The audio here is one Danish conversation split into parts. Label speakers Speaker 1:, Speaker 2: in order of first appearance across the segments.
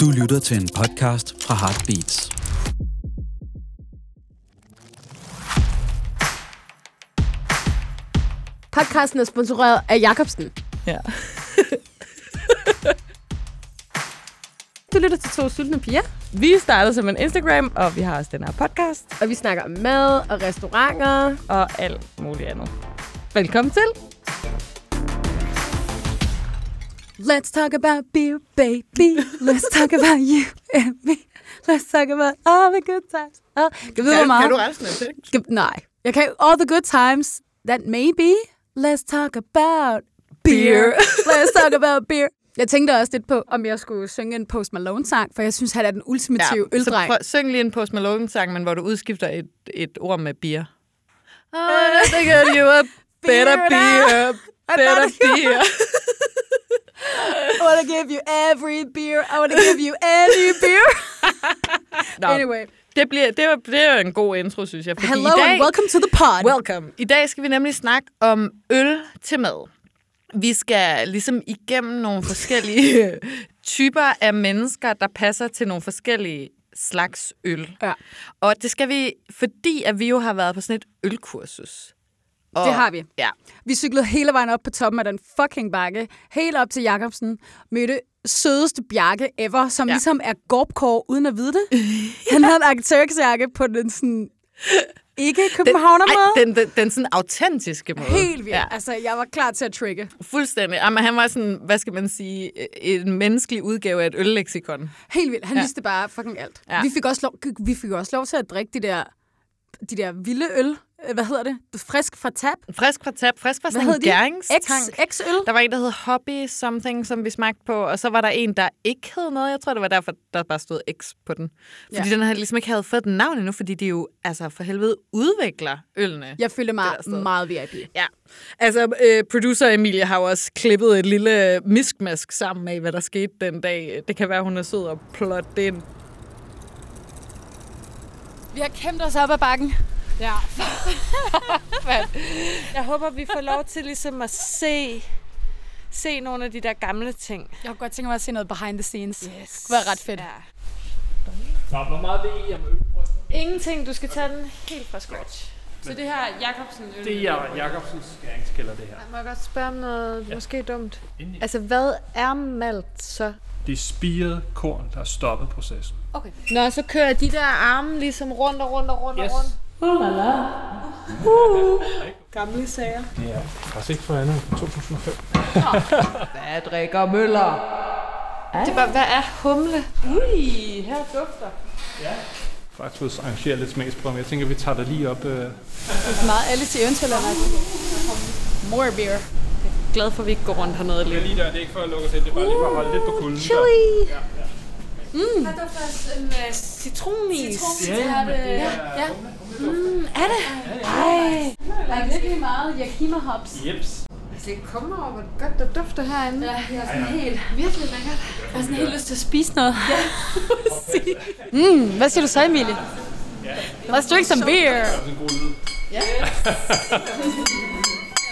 Speaker 1: Du lytter til en podcast fra Heartbeats.
Speaker 2: Podcasten er sponsoreret af Jakobsen.
Speaker 3: Ja.
Speaker 2: Du lytter til to sultne piger,
Speaker 3: Vi startede som en Instagram, og vi har også den her podcast
Speaker 2: og vi snakker om mad og restauranter.
Speaker 3: og alt muligt andet. Velkommen til.
Speaker 2: Let's talk about beer, baby. Let's talk about you and me. Let's talk about all the good times. Oh. Kan du vide, hvor meget?
Speaker 4: resten af teksten?
Speaker 2: Kan, nej. Jeg kan all the good times that maybe. Let's talk about beer. Let's talk about beer. Jeg tænkte også lidt på, om jeg skulle synge en Post Malone-sang, for jeg synes, han er den ultimative ja,
Speaker 4: så
Speaker 2: øldreng.
Speaker 4: prøv, syng lige en Post Malone-sang, men hvor du udskifter et, et ord med beer. Oh,
Speaker 2: I
Speaker 4: I get you a better beer, better beer.
Speaker 2: I wanna give you every beer. I wanna give you any beer.
Speaker 4: Nå,
Speaker 2: Anyway.
Speaker 4: det, bliver, det, var, det var en god intro, synes jeg. Fordi
Speaker 2: Hello
Speaker 4: i dag,
Speaker 2: and welcome to the pod.
Speaker 4: Welcome. I dag skal vi nemlig snakke om øl til mad. Vi skal ligesom igennem nogle forskellige typer af mennesker, der passer til nogle forskellige slags øl.
Speaker 2: Ja.
Speaker 4: Og det skal vi, fordi at vi jo har været på sådan et ølkursus. Og,
Speaker 2: Det har vi.
Speaker 4: Ja.
Speaker 2: Vi cyklede hele vejen op på toppen af den fucking bakke, helt op til Jacobsen, mødte sødeste Bjarke ever, som ja.
Speaker 4: Ja.
Speaker 2: ligesom er gorpkår uden at vide det. Han havde en arkitektsjakke på den sådan ikke københavner
Speaker 4: Ej,
Speaker 2: måde.
Speaker 4: den, den, den sådan autentiske måde.
Speaker 2: Helt vildt. Ja. Altså, jeg var klar til at trigge.
Speaker 4: Fuldstændig. Jamen, han var sådan, hvad skal man sige, en menneskelig udgave af et ølleksikon.
Speaker 2: Helt vildt. Han ja.
Speaker 4: Ja.
Speaker 2: vidste bare fucking alt. Ja.
Speaker 4: Ja.
Speaker 2: Vi, fik også lov, vi fik også lov til at drikke de der, de der vilde øl. Øh, Hvad hedder det? Frisk fra tab.
Speaker 4: Frisk fra tab, frisk fra
Speaker 2: Hvad
Speaker 4: sådan en
Speaker 2: hedder
Speaker 4: gæringstank.
Speaker 2: de? X, X-øl?
Speaker 4: Der var en, der hed Hobby Something, som vi smagte på, og så var der en, der ikke hed noget. Jeg tror, det var derfor, der bare stod X på den. Fordi
Speaker 2: Ja.
Speaker 4: ja. den havde ligesom ikke havde fået den navn endnu, fordi de jo altså for helvede udvikler ølene.
Speaker 2: Jeg følte mig
Speaker 4: Det der sted.
Speaker 2: meget VIP.
Speaker 4: Ja. Altså, øh, producer Emilie har jo også klippet et lille miskmask sammen med, hvad der skete den dag. Det kan være, hun er sød og plot det ind.
Speaker 2: Vi har kæmpet os op ad bakken.
Speaker 3: Jeg håber, vi får lov til ligesom at se, se nogle af de der gamle ting.
Speaker 2: Jeg kunne godt tænke mig at se noget behind the scenes. Yes. Det kunne være ret fedt. Ja.
Speaker 5: Nå, hvor meget ved I om ølbryggen?
Speaker 3: Ingenting, du skal tage den helt fra scratch. Så det her er Jacobsen øl.
Speaker 5: Det er Jacobsens skæringskælder, det her.
Speaker 6: Må jeg godt spørge om noget ja. måske dumt? Altså, hvad er malt så?
Speaker 5: Det er spiret korn, der har stoppet processen.
Speaker 6: Okay. Nå, så kører de der arme ligesom rundt og rundt og rundt
Speaker 5: Yes.
Speaker 6: og rundt.
Speaker 5: Det er faktisk ikke for andet 2005.
Speaker 6: Det er bare, hvad er humle?
Speaker 5: Faktisk vil arrangere lidt smagsprøver, men jeg tænker, vi tager det lige op. Øh.
Speaker 2: Meget alle til eventyrlandet. More beer.
Speaker 3: glad for, at vi ikke går rundt hernede lige.
Speaker 5: lige der, det er ikke for at lukke os ind, det er bare lige for at holde lidt på kulden. Chili!
Speaker 3: Citronis.
Speaker 5: Ja, men det er... Ja.
Speaker 2: Mm, Der er virkelig meget Yakima hops.
Speaker 5: Jeps.
Speaker 6: Altså, jeg kommer over, hvor godt der dufter herinde. Ja.
Speaker 2: Jeg er sådan helt, virkelig lækkert. Jeg har sådan helt lyst til at spise noget. Ja. mm, hvad siger du så, Emilie? Let's drink some beer.
Speaker 5: Det er en god lyd.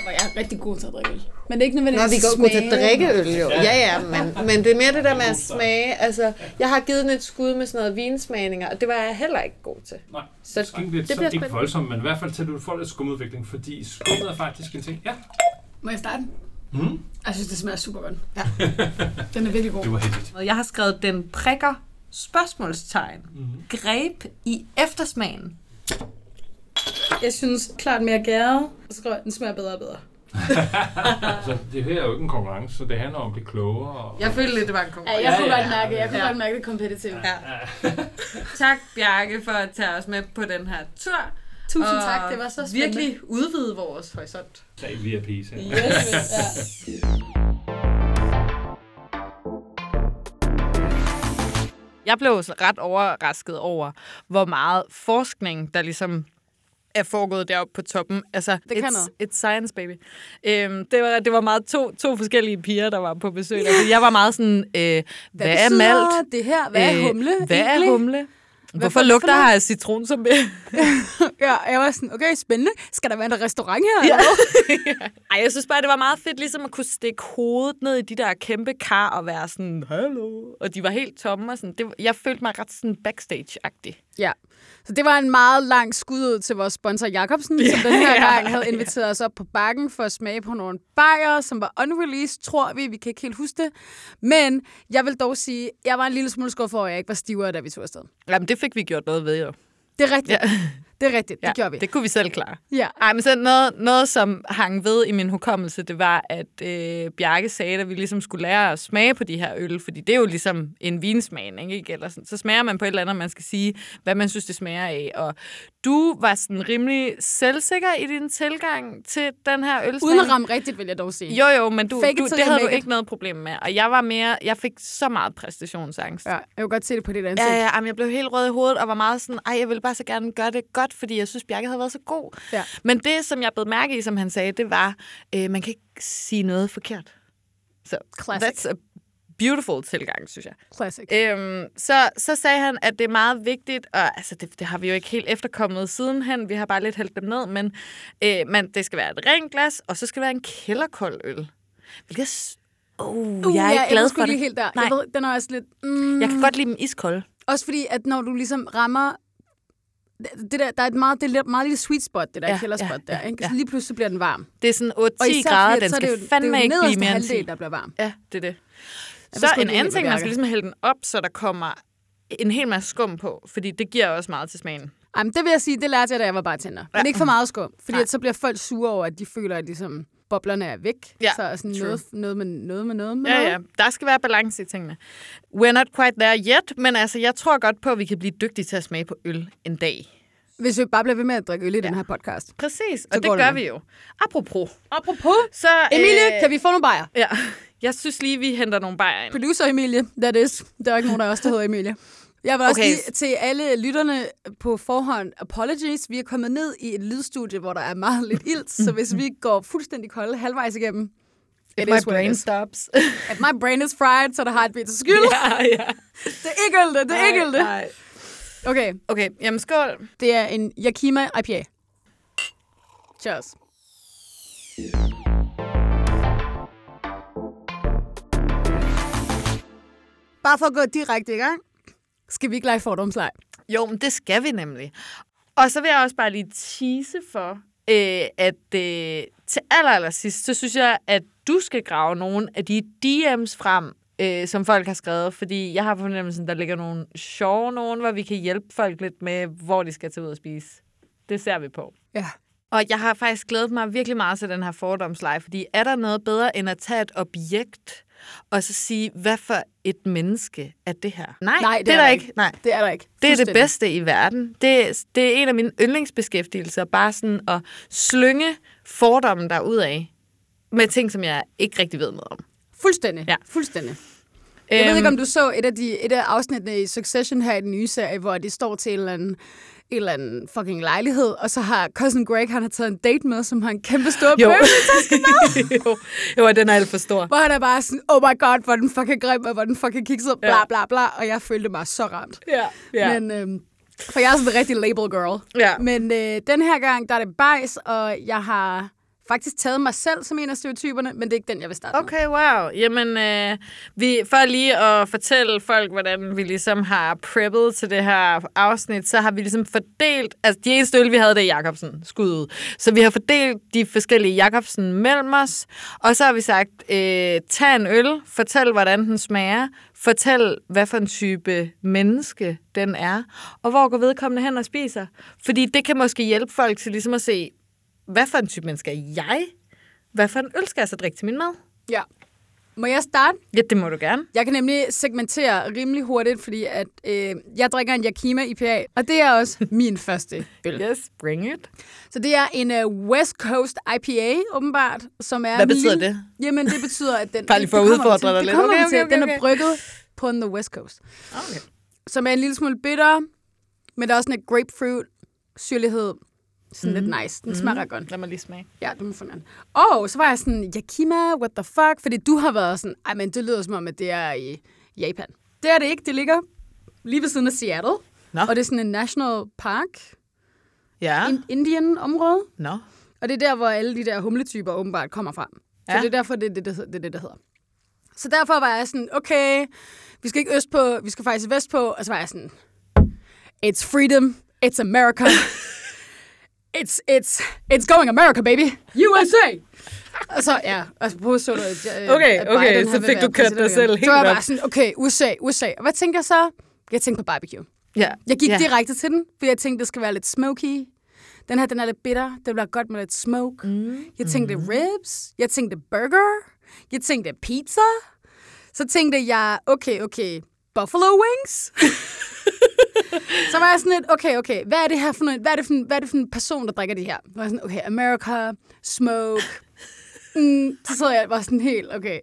Speaker 2: Jeg er rigtig god til at drikke øl. Men det er ikke nødvendigvis
Speaker 6: Nå, vi
Speaker 4: Altså,
Speaker 6: går gode til at drikke øl, jo. Ja, ja, men, men det er mere det der med at smage. Altså, jeg har givet den et skud med sådan noget vinsmagninger, og det var jeg heller ikke god til.
Speaker 5: Nej,
Speaker 6: Så
Speaker 5: det bliver
Speaker 6: det
Speaker 5: så
Speaker 6: bliver
Speaker 5: ikke
Speaker 6: spændende.
Speaker 5: voldsomt, men i hvert fald til, at du får lidt skumudvikling, fordi skummet er faktisk en ting. Ja,
Speaker 2: Må jeg starte?
Speaker 5: Mm.
Speaker 2: Jeg synes, det smager super godt. Ja. Den er virkelig god.
Speaker 5: det var heldigt.
Speaker 4: Jeg har skrevet, den prikker spørgsmålstegn. Mm-hmm. Greb i eftersmagen.
Speaker 2: Jeg synes klart mere gæret. Så skriver jeg, den smager bedre og bedre.
Speaker 5: Altså, det her er jo ikke en konkurrence, så det handler om at blive klogere. Og...
Speaker 4: Jeg følte lidt, det var en konkurrence.
Speaker 2: Ja, jeg kunne godt mærke, jeg kunne godt mærke det kompetitive. Ja.
Speaker 4: Tak, Bjarke, for at tage os med på den her tur.
Speaker 2: Tusind
Speaker 4: Og
Speaker 2: tak, det var så spændende.
Speaker 4: virkelig udvide vores horisont.
Speaker 5: Tre VIP's her.
Speaker 4: Jeg blev så ret overrasket over, hvor meget forskning, der ligesom er foregået deroppe på toppen. Altså,
Speaker 2: Det kan
Speaker 4: it's, it's science, baby. Øhm, det, var, det var meget to, to forskellige piger, der var på besøg. Der. Jeg var meget sådan, øh, hvad, hvad er malt?
Speaker 2: det her? Hvad er
Speaker 4: Øh,
Speaker 2: humle
Speaker 4: Hvad
Speaker 2: egentlig?
Speaker 4: er humle? Hvorfor lugter her af citron som
Speaker 2: Ja, jeg var sådan, okay, spændende. Skal der være en restaurant her? Ja.
Speaker 4: Ej, jeg synes bare, det var meget fedt ligesom at kunne stikke hovedet ned i de der kæmpe kar og være sådan, hallo. Og de var helt tomme og sådan. Det, var- jeg følte mig ret sådan backstage-agtig.
Speaker 2: ja. Så det var en meget lang skud til vores sponsor Jacobsen, ja, som den her gang havde inviteret os op på bakken for at smage på nogle bajer, som var unreleased, tror vi. Vi kan ikke helt huske det. Men jeg vil dog sige, jeg var en lille smule skuffet over, at jeg ikke var stivere, da vi tog afsted.
Speaker 4: Jamen, det fik vi gjort noget ved, jo.
Speaker 2: Det er rigtigt.
Speaker 4: Ja.
Speaker 2: Ja. Det er rigtigt, det gjorde vi.
Speaker 4: Det kunne vi selv klare.
Speaker 2: Ja.
Speaker 4: Ej, men så noget, noget, som hang ved i min hukommelse, det var, at øh, Bjarke sagde, at vi ligesom skulle lære at smage på de her øl, fordi det er jo ligesom en vinsmagning, ikke? Eller sådan. Så smager man på et eller andet, og man skal sige, hvad man synes, det smager af. Og du var sådan rimelig selvsikker i din tilgang til den her øl.
Speaker 2: Uden at ramme rigtigt, vil jeg dog sige.
Speaker 4: Jo, jo, men du,
Speaker 2: Fake it
Speaker 4: du,
Speaker 2: till
Speaker 4: det
Speaker 2: you
Speaker 4: havde du
Speaker 2: make it.
Speaker 4: ikke noget problem med. Og jeg var mere, jeg fik så meget præstationsangst.
Speaker 2: Ja, jeg kan godt se det på dit ansigt.
Speaker 4: Ja, ja, jamen, jeg blev helt rød i hovedet og var meget sådan, ej, jeg ville bare så gerne gøre det godt, fordi jeg synes, Bjarke havde været så god.
Speaker 2: Ja.
Speaker 4: Men det, som jeg blev mærke i, som han sagde, det var, øh, man kan ikke sige noget forkert. Så
Speaker 2: Classic.
Speaker 4: that's a beautiful tilgang, synes jeg.
Speaker 2: Classic. Uh,
Speaker 4: Øhm, så, så sagde han, at det er meget vigtigt, og altså, det, det har vi jo ikke helt efterkommet sidenhen, vi har bare lidt hældt dem ned, men, øh, men det skal være et rent glas, og så skal det være en kælderkold øl. Hvilket... s- Uh, uh, jeg er ikke glad
Speaker 2: elsker
Speaker 4: for
Speaker 2: lige
Speaker 4: det.
Speaker 2: helt der. Nej.
Speaker 4: Nej.
Speaker 2: Jeg ved, den er også lidt... Mm,
Speaker 4: Jeg kan godt lide dem iskolde.
Speaker 2: Også fordi, at når du ligesom rammer... Det der, der er et meget, det er lidt- meget lille sweet spot, det der ja,
Speaker 4: Ja,
Speaker 2: kælderspot ja,
Speaker 4: ja,
Speaker 2: der.
Speaker 4: ja,
Speaker 2: Ikke?
Speaker 4: ja.
Speaker 2: Så lige pludselig bliver den varm.
Speaker 4: Det er sådan 8-10
Speaker 2: Og især
Speaker 4: grader,
Speaker 2: fordi,
Speaker 4: den
Speaker 2: at så er
Speaker 4: skal
Speaker 2: det jo-
Speaker 4: fandme
Speaker 2: det er jo
Speaker 4: ikke blive
Speaker 2: nederste
Speaker 4: mere end 10.
Speaker 2: halvdel, der bliver varm.
Speaker 4: Ja, det er det.
Speaker 2: Jeg
Speaker 4: Så
Speaker 2: forstår
Speaker 4: en
Speaker 2: det helt,
Speaker 4: anden ting, man
Speaker 2: Bjarke.
Speaker 4: skal ligesom hælde den op, så der kommer en hel masse skum på, fordi det giver også meget til smagen.
Speaker 2: Ej, men det vil jeg sige, det lærte jeg, da jeg var bartender. Men ikke for meget skum, fordi at så bliver folk sure over, at de føler, at ligesom, boblerne er væk.
Speaker 4: Ja,
Speaker 2: så er sådan
Speaker 4: true.
Speaker 2: noget, noget, med, noget med noget med
Speaker 4: Ja,
Speaker 2: noget.
Speaker 4: ja. Der skal være balance i tingene. We're not quite there yet, men altså, jeg tror godt på, at vi kan blive dygtige til at smage på øl en dag.
Speaker 2: Hvis vi bare bliver ved med at drikke øl i ja. den her podcast.
Speaker 4: Præcis, og
Speaker 2: Så
Speaker 4: det
Speaker 2: går det
Speaker 4: gør
Speaker 2: nok.
Speaker 4: vi jo. Apropos,
Speaker 2: Apropos,
Speaker 4: så...
Speaker 2: Emilie, øh... kan vi få nogle bajer?
Speaker 4: Ja, jeg synes lige, vi henter nogle bajer ind.
Speaker 2: Producer Emilie, that is. Der er ikke nogen af os, der hedder Emilie. Jeg vil også
Speaker 4: Okay.
Speaker 2: lige til alle lytterne på forhånd, apologies. Vi er kommet ned i et lydstudie, hvor der er meget lidt ilt, så hvis vi går fuldstændig kolde halvvejs igennem, it
Speaker 4: If
Speaker 2: is
Speaker 4: my
Speaker 2: what it
Speaker 4: brain
Speaker 2: is.
Speaker 4: stops.
Speaker 2: at my brain is fried, så der har et bit skyld. Yeah.
Speaker 4: ja.
Speaker 2: Det er ikke øl, det, det er ikke øl, det.
Speaker 4: Nej.
Speaker 2: Okay,
Speaker 4: Okay, jamen skål.
Speaker 2: det er en Yakima IPA. Cheers. Bare for at gå direkte i gang, skal vi ikke lege fordomsleg?
Speaker 4: Jo, men det skal vi nemlig. Og så vil jeg også bare lige tease for, øh, at øh, til aller, aller sidst, så synes jeg, at du skal grave nogle af de DM's frem, øh, som folk har skrevet, fordi jeg har på fornemmelsen, der ligger nogle sjove nogen, hvor vi kan hjælpe folk lidt med, hvor de skal tage ud og spise. Det ser vi på.
Speaker 2: Ja.
Speaker 4: Og jeg har faktisk glædet mig virkelig meget til den her fordomsleje, fordi er der noget bedre end at tage et objekt og så sige, hvad for et menneske er det her? Nej,
Speaker 2: Nej,
Speaker 4: det, er der ikke. Nej.
Speaker 2: Det er der ikke.
Speaker 4: Det er det
Speaker 2: Fuldstændig.
Speaker 4: bedste i verden. Det, det er en af mine yndlingsbeskæftigelser, bare sådan at slynge fordommen derudad med ting, som jeg ikke rigtig ved noget om.
Speaker 2: Fuldstændig. Ja.
Speaker 4: Ja. Øhm.
Speaker 2: Fuldstændig. Jeg ved ikke, om du så et af, de, et af afsnittene i Succession her i den nye serie, hvor de står til en eller anden, en eller anden fucking lejlighed, og så har cousin Greg, han har taget en date med, som har en kæmpe stor
Speaker 4: Øhm, jo.
Speaker 2: bøf,
Speaker 4: jo. jo, den er alt for stor.
Speaker 2: hvor han er bare sådan, oh my god, hvor er den fucking grim, og hvor er den fucking kikset, bla bla bla, og jeg følte mig så ramt.
Speaker 4: Ja,
Speaker 2: Men, øhm, for jeg er sådan en rigtig label girl.
Speaker 4: Ja.
Speaker 2: Men øh, den her gang, der er det bajs, og jeg har faktisk taget mig selv som en af stereotyperne, men det er ikke den, jeg vil starte med.
Speaker 4: Okay, wow. Jamen, øh, vi, for lige at fortælle folk, hvordan vi ligesom har preppet til det her afsnit, så har vi ligesom fordelt, altså de eneste øl, vi havde, det er Jacobsen skud ud. Så vi har fordelt de forskellige Jacobsen mellem os, og så har vi sagt, øh, tag en øl, fortæl, hvordan den smager, fortæl, hvad for en type menneske den er, og hvor går vedkommende hen og spiser. Fordi det kan måske hjælpe folk til ligesom at se, hvad for en type menneske er jeg? Hvad for en øl skal jeg så drikke til min mad?
Speaker 2: Ja. Må jeg starte?
Speaker 4: Ja, det må du gerne.
Speaker 2: Jeg kan nemlig segmentere rimelig hurtigt, fordi at, øh, jeg drikker en Yakima IPA, og det er også min første øl.
Speaker 4: Yes, bring it.
Speaker 2: Så det er en uh, West Coast IPA, åbenbart, som er...
Speaker 4: Hvad
Speaker 2: en
Speaker 4: betyder
Speaker 2: lille...
Speaker 4: det?
Speaker 2: Jamen, det betyder, at den...
Speaker 4: Bare lige for
Speaker 2: det
Speaker 4: at
Speaker 2: kommer vi
Speaker 4: udfordre
Speaker 2: til.
Speaker 4: dig
Speaker 2: Det
Speaker 4: lidt.
Speaker 2: kommer
Speaker 4: Okay,
Speaker 2: vi til.
Speaker 4: okay,
Speaker 2: Den er
Speaker 4: okay.
Speaker 2: brygget på den West Coast,
Speaker 4: Okay.
Speaker 2: som er en lille smule bitter, men der er også sådan et grapefruit, syrlighed, sådan mm. lidt
Speaker 4: Mhm.
Speaker 2: nice. Den smager ret godt.
Speaker 4: Lad mig lige smage.
Speaker 2: Ja, det må få en anden. Og så var jeg sådan, Yakima, what the fuck? Fordi du har været sådan, ej, men det lyder som om, at det er i Japan. Det er det ikke, det ligger lige ved siden af Seattle.
Speaker 4: Nå. Ah.
Speaker 2: Og det er sådan en national park,
Speaker 4: Ja.
Speaker 2: in- Indian område.
Speaker 4: Nå.
Speaker 2: Og det er der, hvor alle de der humletyper åbenbart kommer fra. Så
Speaker 4: Ja.
Speaker 2: det er derfor, det er det, det, det, er det, der hedder. Så derfor var jeg sådan, okay, vi skal ikke øst på, vi skal faktisk vest på. Og så var jeg sådan, it's freedom, it's America. It's, it's, it's going America, baby. USA! og så, ja, og så prøvede så du, at, øh,
Speaker 4: Okay,
Speaker 2: at
Speaker 4: okay,
Speaker 2: Biden,
Speaker 4: så
Speaker 2: han vil
Speaker 4: fik
Speaker 2: være
Speaker 4: du kørt dig
Speaker 2: præsident
Speaker 4: selv
Speaker 2: igen.
Speaker 4: helt
Speaker 2: Så var jeg
Speaker 4: op.
Speaker 2: bare sådan, okay, USA, USA. Og hvad tænker jeg så? Jeg tænkte på barbecue.
Speaker 4: Ja.
Speaker 2: Jeg gik
Speaker 4: ja.
Speaker 2: ja. direkte til den, fordi jeg tænkte, det skal være lidt smoky. Den her, den er lidt bitter. Det bliver godt med lidt smoke. Mm. Jeg tænkte ribs. Jeg tænkte burger. Jeg tænkte pizza. Så tænkte jeg, okay, okay, buffalo wings. så var jeg sådan lidt, okay, okay, hvad er det her for en, hvad er det for en, hvad er det for en person, der drikker det her? Så var jeg sådan, okay, America, smoke. Mm, så sad jeg og var sådan helt, okay.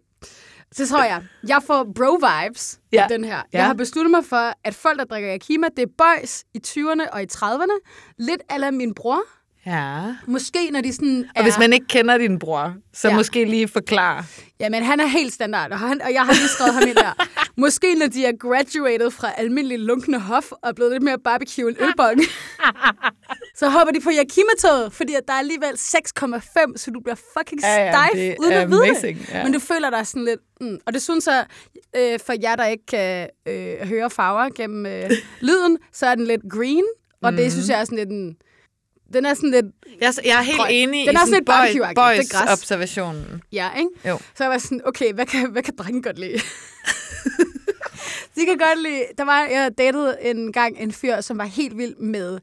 Speaker 2: Så tror jeg, jeg får bro-vibes ja.
Speaker 4: Ja.
Speaker 2: af den her.
Speaker 4: Ja.
Speaker 2: Ja. Jeg har besluttet mig for, at folk, der drikker Yakima, det er boys i 20'erne og i 30'erne. Lidt ala min bror.
Speaker 4: Ja.
Speaker 2: Måske når de sådan
Speaker 4: Og
Speaker 2: er...
Speaker 4: hvis man ikke kender din bror, så
Speaker 2: Ja.
Speaker 4: ja. måske lige forklare.
Speaker 2: Jamen, han er helt standard, og, han, og jeg har lige skrevet ham ind der. Måske når de er graduated fra almindelig lunkne hof og er blevet lidt mere barbecue end ølbong. så hopper de på Yakima-toget, fordi at der er alligevel 6,5, så du bliver fucking
Speaker 4: Ja, ja,
Speaker 2: stejf
Speaker 4: det
Speaker 2: uden
Speaker 4: er
Speaker 2: at vide
Speaker 4: amazing,
Speaker 2: det.
Speaker 4: ja.
Speaker 2: Men du føler dig sådan lidt... Mm. Og det synes jeg, øh, for jer, der ikke kan øh, høre farver gennem øh, lyden, så er den lidt green, og
Speaker 4: Mhm.
Speaker 2: det synes jeg er sådan lidt en... Den er sådan lidt
Speaker 4: Jeg, er- jeg er helt
Speaker 2: Grøn.
Speaker 4: enig
Speaker 2: Den
Speaker 4: i
Speaker 2: er også lidt
Speaker 4: boy,
Speaker 2: barbecue-agtig.
Speaker 4: boys
Speaker 2: Det er græs.
Speaker 4: observationen.
Speaker 2: Ja, ikke?
Speaker 4: Jo.
Speaker 2: Så jeg var sådan, okay, hvad kan, hvad kan drenge godt lide? De kan godt lide... Der var, jeg datede en gang en fyr, som var helt vild med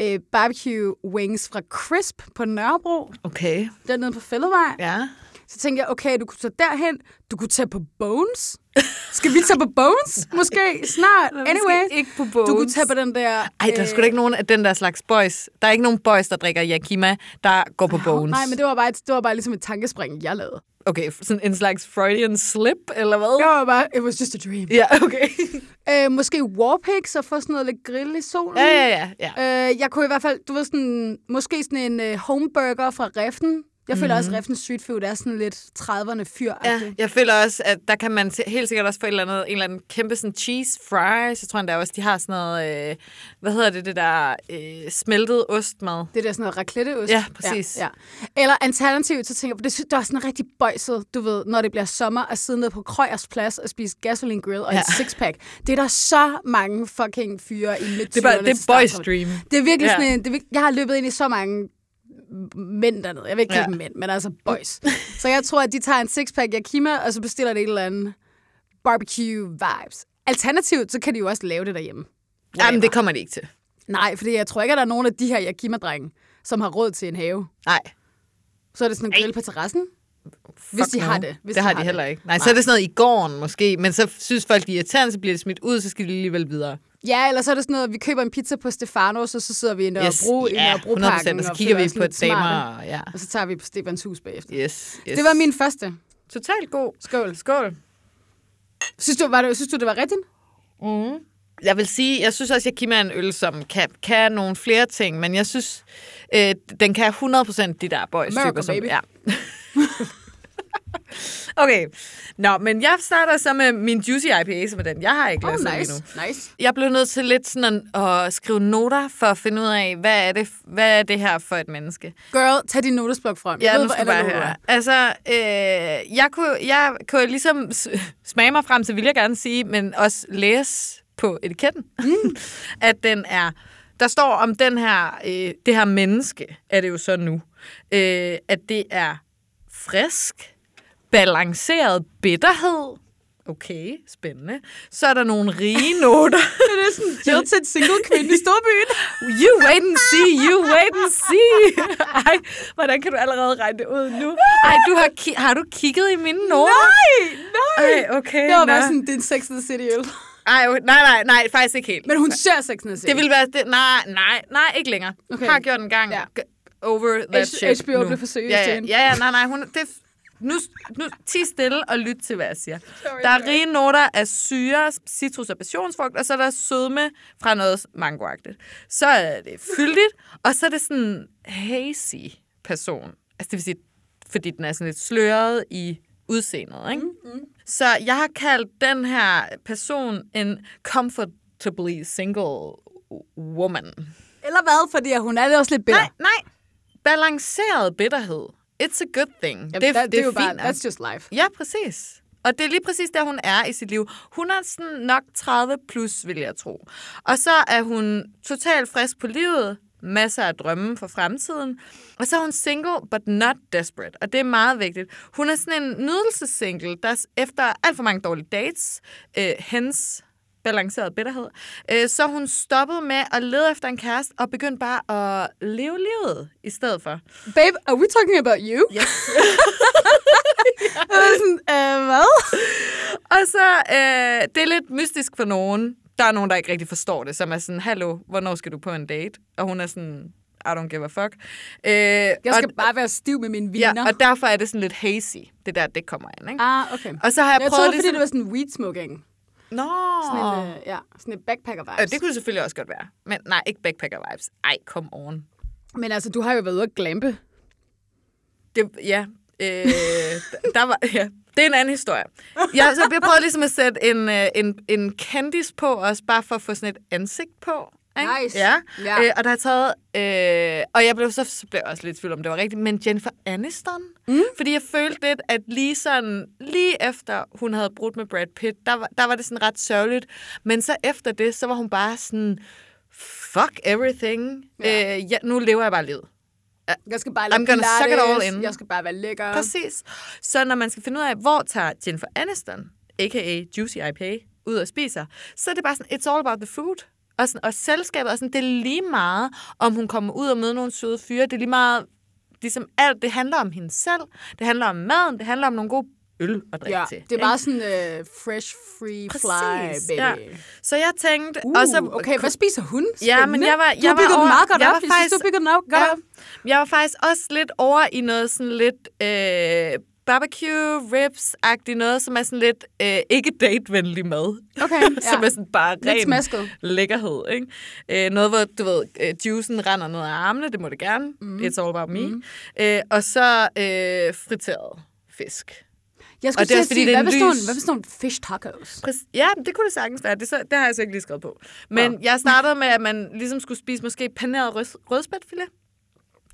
Speaker 2: øh, barbecue wings fra Crisp på Nørrebro,
Speaker 4: Okay,
Speaker 2: dernede på Fællevej. Ja.
Speaker 4: ja.
Speaker 2: Så tænkte jeg, okay, du kunne tage derhen, du kunne tage på Bones. Skal vi tage på Bones? Måske snart. Anyway,
Speaker 4: ikke på
Speaker 2: du kunne tage på den der...
Speaker 4: Ej, der er sgu da ikke nogen af den der slags boys. Der er ikke nogen boys, der drikker Yakima, der går på bones.
Speaker 2: Nej, men det var, bare, et- det var bare ligesom et tankespring, jeg lavede.
Speaker 4: Okay, sådan en slags Freudian slip, eller hvad?
Speaker 2: Det var bare, it was just a dream.
Speaker 4: Ja, okay.
Speaker 2: Øh, måske warpigs og få sådan noget lidt grill i solen.
Speaker 4: ja, ja, ja. ja.
Speaker 2: Øh, jeg kunne i hvert fald, du ved sådan, måske sådan en øh, homeburger fra Reften. Jeg føler også, at Reften Street Food er sådan lidt 30'erne fyr
Speaker 4: Mhm. Ja, jeg føler også, at der kan man t- helt sikkert også få et eller andet, en eller anden kæmpe sådan cheese fries. Jeg tror endda også, de har sådan noget, øh, hvad hedder det, det der øh, smeltet ostmad.
Speaker 2: Det der sådan noget racletteost.
Speaker 4: Ja, præcis.
Speaker 2: Ja, ja. Eller alternativt, så tænker jeg, det, synes- det er sådan rigtig bøjset, du ved, når det bliver sommer, at sidde nede på Krøyers Plads og spise gasoline grill og ja.
Speaker 4: Ja.
Speaker 2: en sixpack. Det er der så mange fucking fyre i midt
Speaker 4: Det er bare, det er boys dream.
Speaker 2: Det er virkelig
Speaker 4: Ja.
Speaker 2: sådan en, det er, vir- jeg har løbet ind i så mange mænd dernede. Jeg vil ikke kalde
Speaker 4: Ja.
Speaker 2: dem mænd, men altså boys. så jeg tror, at de tager en sixpack Yakima, og så bestiller det et eller andet barbecue vibes. Alternativt, så kan de jo også lave det derhjemme.
Speaker 4: Jamen, det kommer de ikke til.
Speaker 2: Nej, fordi jeg tror ikke, at der er nogen af de her Yakima-drenge, som har råd til en have.
Speaker 4: Nej,
Speaker 2: Så er det sådan en grill på terrassen. Hvis
Speaker 4: fuck
Speaker 2: de
Speaker 4: no.
Speaker 2: har det. Hvis
Speaker 4: det har de heller ikke. Nej, så er det sådan noget i gården måske, men så synes folk, de er irriterende, så bliver det smidt ud, så skal de alligevel videre.
Speaker 2: Ja, eller så er det sådan noget, at vi køber en pizza på Stefanos, og så sidder vi i Nørrebro, yes, i
Speaker 4: ja,
Speaker 2: Nørrebroparken.
Speaker 4: 100%, og så
Speaker 2: og
Speaker 4: kigger
Speaker 2: føler
Speaker 4: vi
Speaker 2: os
Speaker 4: på
Speaker 2: lidt smarte.
Speaker 4: damer. og- Ja.
Speaker 2: Og så tager vi på Stefans hus bagefter. Yes.
Speaker 4: Yes, yes.
Speaker 2: Det var min første.
Speaker 4: Totalt god.
Speaker 2: Skål.
Speaker 4: Skål.
Speaker 2: Synes du, var det, synes du, det var rigtigt?
Speaker 4: Jeg vil sige, jeg synes også, at Yakima er en øl, som kan, kan nogle flere ting, men jeg synes, øh, den kan 100% de der boys
Speaker 2: America,
Speaker 4: typer, som,
Speaker 2: baby.
Speaker 4: ja. okay, nå, men jeg starter så med min Juicy IPA, som er den, jeg har ikke
Speaker 2: Oh,
Speaker 4: læst
Speaker 2: nice.
Speaker 4: endnu.
Speaker 2: nice.
Speaker 4: Jeg blev nødt til lidt sådan at, at skrive noter for at finde ud af, hvad er det, hvad er det her for et menneske?
Speaker 2: Girl, tag din notesblok frem. Jeg
Speaker 4: Ja,
Speaker 2: ved,
Speaker 4: nu
Speaker 2: hvor
Speaker 4: skal du bare
Speaker 2: analog du er.
Speaker 4: høre. Altså, øh, jeg, kunne, jeg kunne ligesom s- smage mig frem til, vil jeg gerne sige, men også læse på etiketten, mm. at den er... Der står om den her, øh, det her menneske, er det jo så nu, øh, at det er frisk, balanceret bitterhed. Okay, spændende. Så er der nogle rige noter. det er sådan
Speaker 2: Jill til en single kvinde i storbyen.
Speaker 4: You wait and see, you wait and see. Ej, hvordan kan du allerede regne det ud nu? Ej, du har, ki- har du kigget i mine noter?
Speaker 2: Nej, nej.
Speaker 4: Ej, okay.
Speaker 2: Det var
Speaker 4: nå.
Speaker 2: bare sådan, det er en Sex and the City øl.
Speaker 4: Ej, okay, nej, nej, nej, faktisk ikke helt.
Speaker 2: Men hun ser Sex and the City.
Speaker 4: Det ville være... Det, nej, nej, nej, ikke længere.
Speaker 2: Okay.
Speaker 4: Okay. Har gjort en gang.
Speaker 2: Ja.
Speaker 4: Ja. Over that
Speaker 2: H-
Speaker 4: shit
Speaker 2: HBO
Speaker 4: nu.
Speaker 2: blev for seriøs
Speaker 4: ja,
Speaker 2: til
Speaker 4: ja,
Speaker 2: hende.
Speaker 4: ja, ja, nej, nej. Hun, det, nu, nu ti stille og lyt til, hvad jeg siger. der er rige noter af syre, citrus og passionsfrugt, og så er der sødme fra noget mangoagtigt. Så er det fyldigt, og så er det sådan hazy person. Altså det vil sige, fordi den er sådan lidt sløret i udseendet, ikke?
Speaker 2: Mm,
Speaker 4: Mm-hmm. Så jeg har kaldt den her person en comfortably single woman.
Speaker 2: Eller hvad? Fordi at hun er det også lidt bitter.
Speaker 4: Nej, nej. Balanceret bitterhed. It's a good thing. Jamen, det,
Speaker 2: that,
Speaker 4: det, det er
Speaker 2: jo bare-
Speaker 4: fint. nok.
Speaker 2: That's just life.
Speaker 4: Ja, præcis. Og det er lige præcis der, hun er i sit liv. Hun er sådan nok 30 plus, vil jeg tro. Og så er hun totalt frisk på livet, masser af drømme for fremtiden. Og så er hun single, but not desperate. Og det er meget vigtigt. Hun er sådan en nydelsessingle, der s- efter alt for mange dårlige dates, øh, hens balanceret bitterhed, øh, så hun stoppede med at lede efter en kæreste og begyndte bare at leve livet i stedet for.
Speaker 2: Babe, are we talking about you?
Speaker 4: Yes.
Speaker 2: Jeg var sådan, øh, hvad?
Speaker 4: Og så, øh, det er lidt mystisk for nogen. Der er nogen, der ikke rigtig forstår det, som er sådan, hallo, hvornår skal du på en date? Og hun er sådan, I don't give a fuck. Øh,
Speaker 2: Jeg skal
Speaker 4: og,
Speaker 2: bare være stiv med mine viner.
Speaker 4: ja, og derfor er det sådan lidt hazy, det der, det kommer ind, ikke?
Speaker 2: Ah, okay.
Speaker 4: Og så har jeg,
Speaker 2: Jeg
Speaker 4: prøvet
Speaker 2: troede, fordi
Speaker 4: ligesom...
Speaker 2: det var sådan weed smoking.
Speaker 4: Nå!
Speaker 2: Sådan en, øh, ja, sådan en backpacker
Speaker 4: øh,
Speaker 2: vibes.
Speaker 4: det kunne det selvfølgelig også godt være. Men nej, ikke backpacker vibes. Ej, come on.
Speaker 2: Men altså, du har jo været ude at glampe.
Speaker 4: Det, ja, øh, der var, ja, det er en anden historie. Jeg, så jeg prøvede ligesom at sætte en, øh, en, en candice på også, bare for at få sådan et ansigt på. Ikke?
Speaker 2: Nice.
Speaker 4: Ja.
Speaker 2: Ja.
Speaker 4: ja. Øh, og der har taget... Øh, og jeg blev så, så blev jeg også lidt i tvivl om, det var rigtigt, men Jennifer Aniston. Mm. Fordi jeg følte lidt, at lige sådan, lige efter hun havde brudt med Brad Pitt, der var, der var det sådan ret sørgeligt. Men så efter det, så var hun bare sådan, fuck everything. Ja. Øh, ja, nu lever jeg bare livet.
Speaker 2: Jeg skal bare
Speaker 4: I'm gonna suck it all in.
Speaker 2: Jeg skal bare være lækker.
Speaker 4: Præcis. Så når man skal finde ud af, hvor tager Jennifer Aniston, a.k.a. Juicy IPA, ud og spiser, så er det bare sådan, it's all about the food. Og, sådan, og selskabet, og sådan, det er lige meget, om hun kommer ud og møder nogle søde fyre. Det er lige meget, ligesom alt, det handler om hende selv. Det handler om maden, det handler om nogle gode øl at drikke
Speaker 2: Ja,
Speaker 4: til.
Speaker 2: det er
Speaker 4: ikke?
Speaker 2: bare sådan øh, fresh, free, fly, baby.
Speaker 4: Ja. Så jeg tænkte,
Speaker 2: Uh,
Speaker 4: og så
Speaker 2: okay, hvad spiser hun?
Speaker 4: Ja, men jeg var, jeg
Speaker 2: du har
Speaker 4: var
Speaker 2: bygget den
Speaker 4: over-
Speaker 2: meget godt
Speaker 4: jeg
Speaker 2: op.
Speaker 4: var
Speaker 2: Jeg synes, du har bygget den op. Godt
Speaker 4: ja.
Speaker 2: op.
Speaker 4: Jeg var faktisk også lidt over i noget sådan lidt øh, barbecue, ribs-agtigt noget, som er sådan lidt øh, ikke datevenlig mad.
Speaker 2: Okay,
Speaker 4: ja. som
Speaker 2: ja.
Speaker 4: er sådan bare
Speaker 2: Lidt
Speaker 4: ren
Speaker 2: smasket.
Speaker 4: lækkerhed. Ikke? Øh, noget, hvor du ved, øh, juicen render ned af armene, det må det gerne. Mm. It's all about me. Mm. Øh, og så øh, friteret fisk.
Speaker 2: Jeg skulle
Speaker 4: Og det er
Speaker 2: til
Speaker 4: også
Speaker 2: at
Speaker 4: fordi,
Speaker 2: sige,
Speaker 4: det er
Speaker 2: hvad
Speaker 4: en
Speaker 2: består en,
Speaker 4: lys-
Speaker 2: hvad består en fish tacos?
Speaker 4: Præcis. Ja, det kunne det sagtens være. Det, så, det har jeg så ikke lige skrevet på. Men ja. jeg startede med, at man ligesom skulle spise måske paneret rød, rødspætfilet,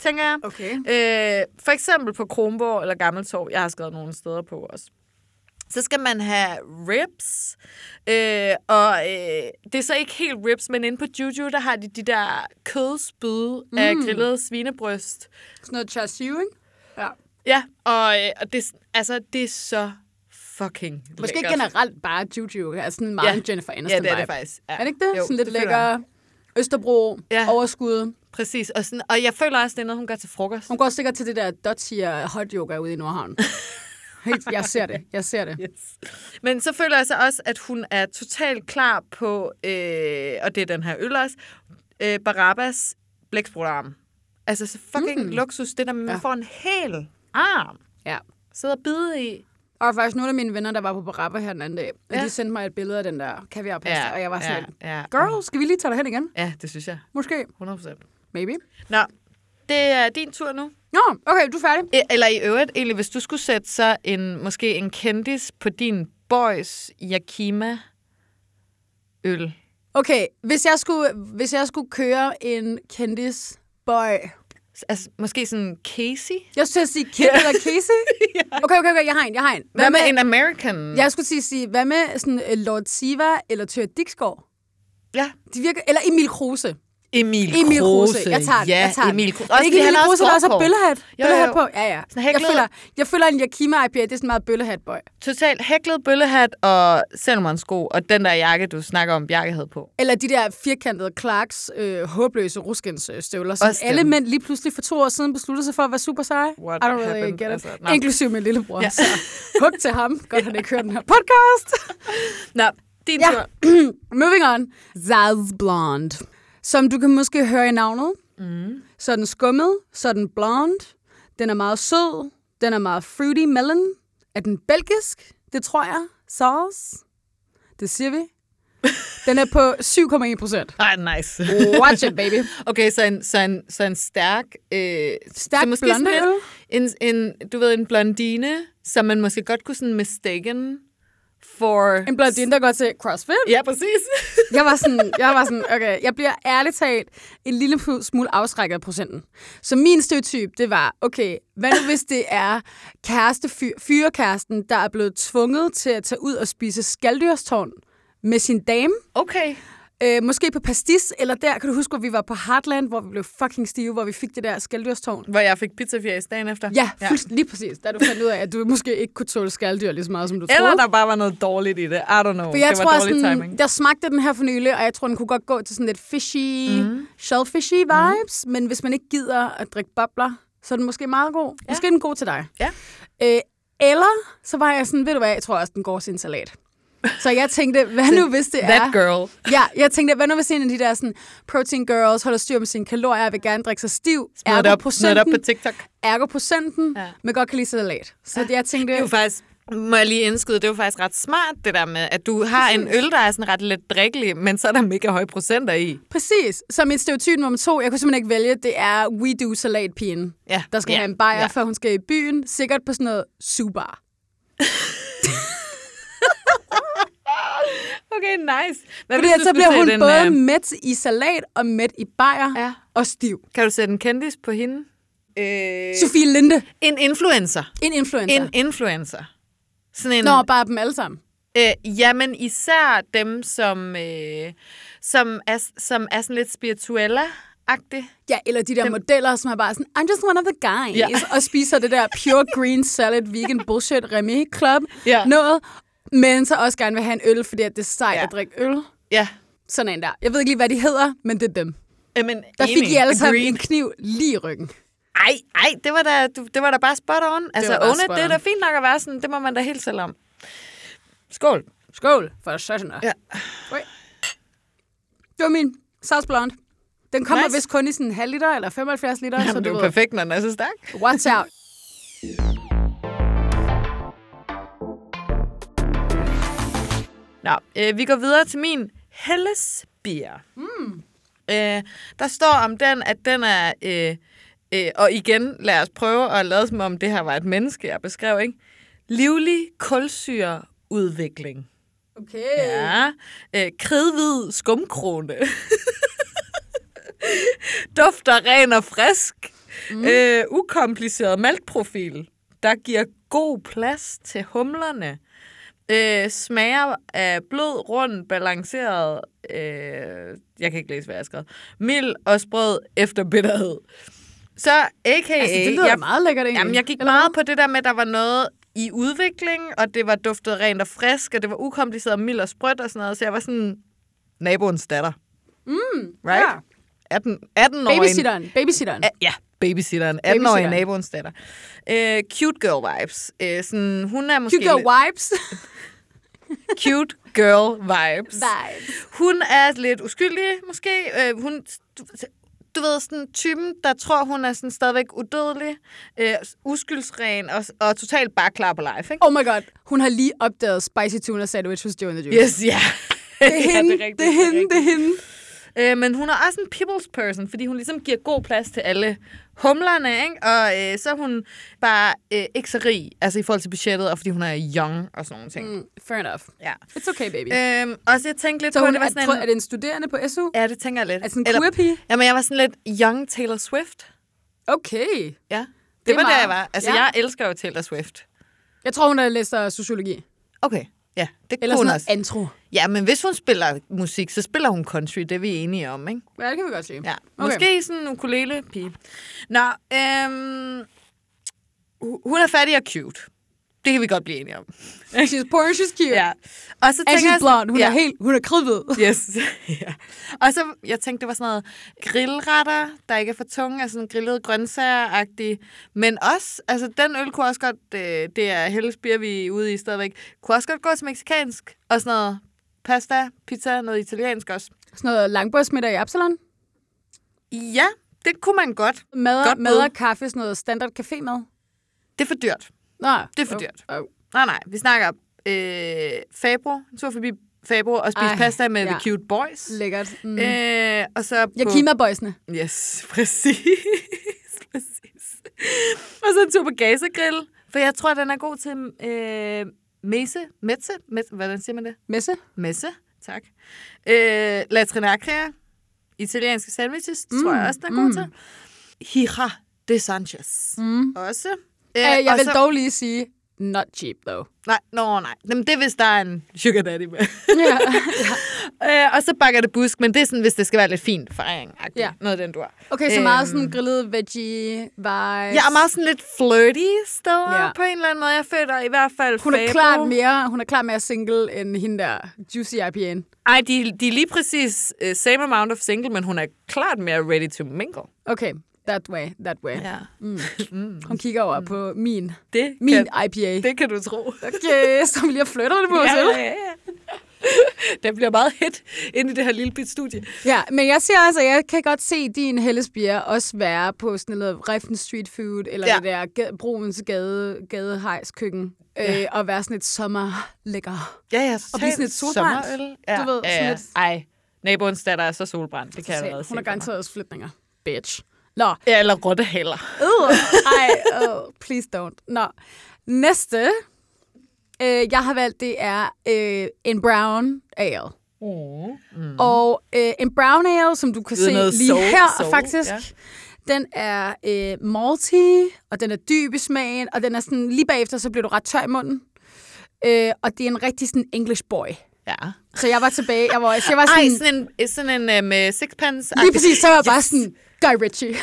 Speaker 4: tænker jeg.
Speaker 2: Okay.
Speaker 4: Øh, for eksempel på Kronborg eller Gammeltorv. Jeg har skrevet nogle steder på også. Så skal man have ribs, øh, og øh, det er så ikke helt ribs, men inde på Juju, der har de de der kødspyd mm. af grillet svinebryst.
Speaker 2: Sådan noget char siu, ikke? Ja.
Speaker 4: Ja, og, øh, og det, er sådan- altså, det er så fucking
Speaker 2: Måske
Speaker 4: lækkert.
Speaker 2: generelt bare Juju. Er sådan meget
Speaker 4: Ja.
Speaker 2: en Jennifer
Speaker 4: Ja,
Speaker 2: Aniston
Speaker 4: det er det
Speaker 2: vibe.
Speaker 4: faktisk. Ja.
Speaker 2: Er det ikke det?
Speaker 4: Jo,
Speaker 2: sådan lidt
Speaker 4: det føler
Speaker 2: lækker
Speaker 4: jeg.
Speaker 2: Østerbro,
Speaker 4: Ja.
Speaker 2: overskud.
Speaker 4: Præcis, og, sådan, og jeg føler også, det er noget, hun gør til frokost.
Speaker 2: Hun går sikkert til det der Dutty og hot yoga ude i Nordhavn. Helt, jeg ser det, jeg ser det.
Speaker 4: Yes. Men så føler jeg så også, at hun er totalt klar på, øh, og det er den her øl også, øh, Barabbas blæksprutarm. Altså så fucking mm. luksus, det der med, at man
Speaker 2: Ja.
Speaker 4: ja. får en hel arm.
Speaker 2: Ja.
Speaker 4: Sidder og bide i.
Speaker 2: Og faktisk nogle af mine venner, der var på Barabba her den anden dag, og
Speaker 4: Ja.
Speaker 2: de sendte mig et billede af den der kaviarpasta, og jeg var sådan, lidt,
Speaker 4: ja, ja.
Speaker 2: girl, skal vi lige tage dig hen igen?
Speaker 4: Ja, det synes jeg.
Speaker 2: Måske,
Speaker 4: 100%.
Speaker 2: maybe.
Speaker 4: Nå, det er din tur nu.
Speaker 2: Nå, okay, du er færdig.
Speaker 4: E- Eller i øvrigt, egentlig, hvis du skulle sætte så en, måske en kendis på din boys Yakima-øl.
Speaker 2: Okay, hvis jeg skulle, hvis jeg skulle køre en kendis boy.
Speaker 4: Altså, måske sådan Casey?
Speaker 2: Jeg skulle til at sige Kim eller Casey. Okay, okay, okay, jeg har en, jeg har en.
Speaker 4: Hvad med en American?
Speaker 2: Jeg skulle til at sige, hvad med sådan øh, Lord Siva eller Tør Dixgaard?
Speaker 4: ja.
Speaker 2: De virker, eller Emil Kruse.
Speaker 4: Emil,
Speaker 2: Emil Kruse.
Speaker 4: Kruse.
Speaker 2: Jeg tager den,
Speaker 4: ja,
Speaker 2: jeg tager den.
Speaker 4: Emil Kruse.
Speaker 2: Også ikke
Speaker 4: fordi
Speaker 2: Emil
Speaker 4: han er
Speaker 2: Kruse, der også har
Speaker 4: gråhåret.
Speaker 2: bøllehat.
Speaker 4: jo.
Speaker 2: Bøllehat på. Ja, ja.
Speaker 4: Sådan
Speaker 2: Jeg
Speaker 4: hæklet.
Speaker 2: føler, jeg føler en Yakima IPA, det er sådan meget bøllehat, boy.
Speaker 4: Totalt hæklet bøllehat og Salmon-sko, og den der jakke, du snakker om, Bjarke havde på.
Speaker 2: Eller de der firkantede Clarks øh, håbløse ruskens øh, støvler, som
Speaker 4: Også dem.
Speaker 2: alle mænd lige pludselig for to år siden besluttede sig for at være super seje.
Speaker 4: What
Speaker 2: I don't really
Speaker 4: happened?
Speaker 2: get it.
Speaker 4: Altså,
Speaker 2: Altså,
Speaker 4: nej.
Speaker 2: Inklusiv min lillebror. Ja. Så hug til ham. Godt, han ikke hører den her podcast.
Speaker 4: Nå, din
Speaker 2: Ja.
Speaker 4: ja. tur.
Speaker 2: Moving on. Zaz Blonde. Som du kan måske høre i navnet. Mm. Så er den skummet, så er den blond. Den er meget sød. Den er meget fruity melon. Er den belgisk? Det tror jeg. Sauce. Det siger vi. Den er på 7,1 procent.
Speaker 4: Ej, nice.
Speaker 2: Watch it, baby.
Speaker 4: Okay, så en, så en, så en stærk... Øh,
Speaker 2: Stærk
Speaker 4: så måske sådan
Speaker 2: blondeøl?
Speaker 4: lidt en, en, du ved, en blondine, som man måske godt kunne sådan mistaken for...
Speaker 2: En blondine, der går til CrossFit.
Speaker 4: Ja, præcis.
Speaker 2: Jeg var sådan, jeg var sådan okay, jeg bliver ærligt talt en lille smule afskrækket af procenten. Så min stereotyp, det var, okay, hvad nu hvis det er kæreste, fyr, fyrekæresten, der er blevet tvunget til at tage ud og spise skaldyrstårn med sin dame?
Speaker 4: Okay.
Speaker 2: Øh, måske på Pastis, eller der, kan du huske, hvor vi var på Heartland, hvor vi blev fucking stive, hvor vi fik det der skaldyrstårn?
Speaker 4: Hvor jeg fik pizzafjæs dagen efter.
Speaker 2: Ja, fuldst- lige præcis. Da du fandt ud af, at du måske ikke kunne tåle skalddyr lige så meget, som du troede.
Speaker 4: Eller der bare var noget dårligt i det. I don't know.
Speaker 2: For jeg
Speaker 4: det var
Speaker 2: tror,
Speaker 4: dårlig
Speaker 2: sådan,
Speaker 4: timing.
Speaker 2: der smagte den her for nylig, og jeg tror, den kunne godt gå til sådan lidt fishy, mm. shellfishy vibes. Mm. Men hvis man ikke gider at drikke bobler, så er den måske meget god. Ja. Måske er den god til dig.
Speaker 4: Ja.
Speaker 2: Øh, eller så var jeg sådan, ved du hvad, jeg tror også, den går til en salat. Så jeg tænkte, hvad nu hvis det
Speaker 4: That
Speaker 2: er...
Speaker 4: girl.
Speaker 2: Ja, jeg tænkte, hvad nu hvis en af de der sådan, protein girls holder styr på sine kalorier, vil gerne drikke sig stiv,
Speaker 4: Smid det
Speaker 2: ergo
Speaker 4: op, smid det op
Speaker 2: procenten,
Speaker 4: på TikTok.
Speaker 2: ergo procenten,
Speaker 4: Ja.
Speaker 2: ja. men godt kan lide salat. Så jeg tænkte,
Speaker 4: Det er jo faktisk, må jeg lige indskyde, det er jo faktisk ret smart, det der med, at du har en øl, der er sådan ret let drikkelig, men så er der mega høje procenter i.
Speaker 2: Præcis. Så mit stereotyp nummer to, jeg kunne simpelthen ikke vælge, det er We Do Salatpigen.
Speaker 4: Ja.
Speaker 2: Der skal
Speaker 4: Ja.
Speaker 2: have en bajer,
Speaker 4: Ja.
Speaker 2: ja. før hun skal i byen. Sikkert på sådan noget subar.
Speaker 4: Okay, nice. Hvad
Speaker 2: Fordi
Speaker 4: hvis
Speaker 2: at
Speaker 4: du
Speaker 2: så
Speaker 4: skulle
Speaker 2: bliver
Speaker 4: sætte
Speaker 2: hun
Speaker 4: en,
Speaker 2: både
Speaker 4: øh,
Speaker 2: mæt i salat og mæt i bajer
Speaker 4: Ja.
Speaker 2: ja. og stiv.
Speaker 4: Kan du sætte en kendis på hende? Øh...
Speaker 2: Sofie Linde,
Speaker 4: En influencer.
Speaker 2: en influencer.
Speaker 4: En
Speaker 2: En...
Speaker 4: influencer. Sådan en,
Speaker 2: Nå, bare dem alle sammen.
Speaker 4: øh, jamen især dem, som, øh, som, er, som er sådan lidt spirituella-agtig.
Speaker 2: Ja, eller de der dem... modeller, som er bare sådan, I'm just one of the guys, ja. og spiser det der pure green salad vegan bullshit Remy Club
Speaker 4: Ja.
Speaker 2: noget, men så også gerne vil have en øl, fordi at det er sejt
Speaker 4: Ja.
Speaker 2: ja. at drikke øl.
Speaker 4: Ja.
Speaker 2: Sådan en der. Jeg ved ikke lige, hvad de hedder, men det er dem.
Speaker 4: Jamen,
Speaker 2: Der fik
Speaker 4: enig.
Speaker 2: I alle sammen
Speaker 4: Agreed.
Speaker 2: en kniv lige i ryggen.
Speaker 4: Ej, ej, det var da, du- det var da bare spot on. Altså,
Speaker 2: var bare
Speaker 4: own it,
Speaker 2: spot
Speaker 4: det er da
Speaker 2: on.
Speaker 4: fint nok at være sådan. Det må man da helt selv om. Skål.
Speaker 2: Skål for sådan
Speaker 4: Ja.
Speaker 2: Okay. Det var min Sauce Blonde. Den kommer
Speaker 4: Nice.
Speaker 2: nice. vist kun i sådan en halv liter eller 75 liter, Jamen, så
Speaker 4: det
Speaker 2: du
Speaker 4: er
Speaker 2: ved,
Speaker 4: jo perfekt, når den er så stærk.
Speaker 2: watch out.
Speaker 4: Nå, øh, vi går videre til min Helles bier. Mm.
Speaker 2: Hmm.
Speaker 4: Øh, der står om den, at den er... Øh, øh, og igen, lad os prøve at lade som om det her var et menneske, jeg beskrev, ikke? Livlig kulsyreudvikling.
Speaker 2: Okay.
Speaker 4: Ja. Øh, kridhvid skumkrone. Dufter ren og frisk. Mm. Øh, ukompliceret maltprofil, der giver god plads til humlerne. Øh, smager af blød, rund, balanceret, øh, jeg kan ikke læse, hvad jeg har skrevet, mild og sprød efter bitterhed. Så a.k.a.
Speaker 2: Altså, det lyder
Speaker 4: jeg,
Speaker 2: jeg, meget lækkert egentlig.
Speaker 4: Jamen, jeg gik meget på det der med, at der var noget i udvikling, og det var duftet rent og frisk, og det var ukompliceret og mild og sprødt og sådan noget, så jeg var sådan naboens datter. Mm, right?
Speaker 2: ja.
Speaker 4: 18, 18 år
Speaker 2: Babysitteren. Babysitteren.
Speaker 4: Ja, babysitteren. 18 år i
Speaker 2: Babysitteren.
Speaker 4: naboens datter. Øh, cute girl vibes. Øh, sådan, hun er måske
Speaker 2: Cute girl
Speaker 4: lidt-
Speaker 2: wipes.
Speaker 4: cute girl vibes.
Speaker 2: Vibes.
Speaker 4: Hun er lidt uskyldig, måske. Øh, hun, du, du ved, sådan typen, der tror, hun er sådan stadigvæk udødelig, øh, uskyldsren og, og totalt bare klar på life, ikke?
Speaker 2: Oh my god. Hun har lige opdaget spicy tuna sandwich hos Joe and the Juice.
Speaker 4: Yes, ja.
Speaker 2: Det er hende.
Speaker 4: rigtigt,
Speaker 2: det er hende. Det er hende.
Speaker 4: Øh, men hun er også en people's person, fordi hun ligesom giver god plads til alle humlerne, ikke? Og øh, så er hun bare øh, ikke så rig, altså i forhold til budgettet, og fordi hun er young og sådan nogle ting. Mm.
Speaker 2: Mm, Fair enough.
Speaker 4: Ja.
Speaker 2: It's okay, baby.
Speaker 4: Øhm, og så jeg tænkte lidt
Speaker 2: så
Speaker 4: på,
Speaker 2: hun
Speaker 4: at det
Speaker 2: er,
Speaker 4: var sådan
Speaker 2: tror-
Speaker 4: en...
Speaker 2: er det en studerende på SU?
Speaker 4: Ja, det tænker jeg lidt.
Speaker 2: Er det sådan en queer-pige?
Speaker 4: Jamen, jeg var sådan lidt young Taylor Swift.
Speaker 2: Okay.
Speaker 4: Ja. Det,
Speaker 2: Det er
Speaker 4: var der,
Speaker 2: meget-
Speaker 4: jeg var. Altså, ja.
Speaker 2: ja.
Speaker 4: jeg elsker jo Taylor Swift.
Speaker 2: Jeg tror, hun er læser sociologi.
Speaker 4: Okay. Ja, det
Speaker 2: Eller sådan
Speaker 4: kunne hun
Speaker 2: noget
Speaker 4: også.
Speaker 2: antro.
Speaker 4: Ja, men hvis hun spiller musik, så spiller hun country. Det er vi enige om, ikke?
Speaker 2: Ja, det kan vi godt sige.
Speaker 4: Ja.
Speaker 2: Okay.
Speaker 4: Måske sådan en ukulele-pige. Nå, øhm, hu- hun er fattig og cute. Det kan vi godt blive enige om.
Speaker 2: She's poor and she's cute.
Speaker 4: Ja. Og så
Speaker 2: And
Speaker 4: tænker
Speaker 2: she's
Speaker 4: jeg...
Speaker 2: blonde. Hun
Speaker 4: ja.
Speaker 2: er helt, hun er kridhvid.
Speaker 4: Yes. ja. Og så, jeg tænkte, det var sådan noget grillretter, der ikke er for tunge, altså sådan grillede grøntsager -agtige. Men også, altså den øl kunne også godt, øh, det er Helles bier, vi er ude i stadigvæk, kunne også godt gå til meksikansk, og sådan noget pasta, pizza, noget italiensk også.
Speaker 2: Sådan noget langbordsmiddag i Absalon.
Speaker 4: Ja, det kunne man godt.
Speaker 2: Mad,
Speaker 4: Godt
Speaker 2: godt
Speaker 4: bud.
Speaker 2: mad og kaffe, sådan noget standard cafémad.
Speaker 4: Det er for dyrt.
Speaker 2: Nå,
Speaker 4: Det er for dyrt.
Speaker 2: Oh, oh.
Speaker 4: Nej, nej, vi snakker øh, Fabro, en tur forbi Fabro og spise
Speaker 2: Ej,
Speaker 4: pasta med ja.
Speaker 2: ja.
Speaker 4: The Cute Boys.
Speaker 2: Lækkert. Mm. Øh,
Speaker 4: Øh, og så på...
Speaker 2: Yakima-boysene.
Speaker 4: Yes, præcis. præcis. Og så en tur på Gaza Grill, for jeg tror, den er god til øh, mese, metse, metse, hvordan siger man det?
Speaker 2: Messe?
Speaker 4: Messe, tak. Øh, La Trinacria, italienske sandwiches, mm, tror jeg også, den er god mm. til. Hija de Sanchez, mm. også. Øh,
Speaker 2: Øh, jeg
Speaker 4: og
Speaker 2: vil
Speaker 4: så-
Speaker 2: dog lige sige, not cheap though.
Speaker 4: Nej, nå, nej. Jamen, det er, hvis der er en sugar daddy med.
Speaker 2: Ja.
Speaker 4: øh, og så bakker det busk, men det er sådan, hvis det skal være lidt fint fejring
Speaker 2: Ja.
Speaker 4: ja. Noget af den, du har.
Speaker 2: Okay, så meget
Speaker 4: Øhm.
Speaker 2: sådan grillet veggie vibes.
Speaker 4: Jeg er meget sådan lidt flirty stadig
Speaker 2: Ja.
Speaker 4: ja. på en eller anden måde. Jeg føler i hvert fald
Speaker 2: hun er
Speaker 4: Fabo.
Speaker 2: klart mere, hun er klart mere single end hende der Juicy IPN.
Speaker 4: Ej, de, de er lige præcis uh, same amount of single, men hun er klart mere ready to mingle.
Speaker 2: Okay, that way, that way.
Speaker 4: Ja.
Speaker 2: Hun kigger over på min,
Speaker 4: Det,
Speaker 2: min
Speaker 4: kan,
Speaker 2: IPA.
Speaker 4: det kan du tro.
Speaker 2: Okay, så vi lige har flyttet det på os, eller?
Speaker 4: ja, ja. Den bliver meget hit ind i det her lille bit studie.
Speaker 2: Ja, men jeg siger altså, jeg kan godt se din Hellesbier også være på sådan noget Reften Street Food, eller ja.
Speaker 4: Ja.
Speaker 2: det der ga- Brugens gade, gadehejs køkken, øh, og være sådan et sommerlækker.
Speaker 4: Ja, ja.
Speaker 2: Og blive sådan lidt solbrændt.
Speaker 4: Sommerøl. Ja.
Speaker 2: Du ved,
Speaker 4: ja,
Speaker 2: sådan
Speaker 4: ja.
Speaker 2: lidt-
Speaker 4: Ej, naboens datter er så solbrændt. Det kan jeg allerede se.
Speaker 2: Hun har
Speaker 4: for mig.
Speaker 2: garanteret også flytninger. Bitch. Nå,
Speaker 4: Ja, eller rottehaler.
Speaker 2: Øh, ej, øh, please don't. Nå, næste, øh, jeg har valgt, det er øh, en brown ale. Mm. Og øh, en brown ale, som du kan
Speaker 4: Det er
Speaker 2: se lige
Speaker 4: noget soul-
Speaker 2: her
Speaker 4: soul,
Speaker 2: faktisk,
Speaker 4: ja.
Speaker 2: den er øh, malty, og den er dyb i smagen, og den er sådan, lige bagefter, så bliver du ret tør i munden. Øh, og det er en rigtig sådan English boy.
Speaker 4: Ja.
Speaker 2: Så jeg var tilbage, jeg var, så jeg var sådan,
Speaker 4: Ej, sådan en, sådan en øh, med sixpence.
Speaker 2: Lige præcis, så var jeg bare sådan, Guy Ritchie.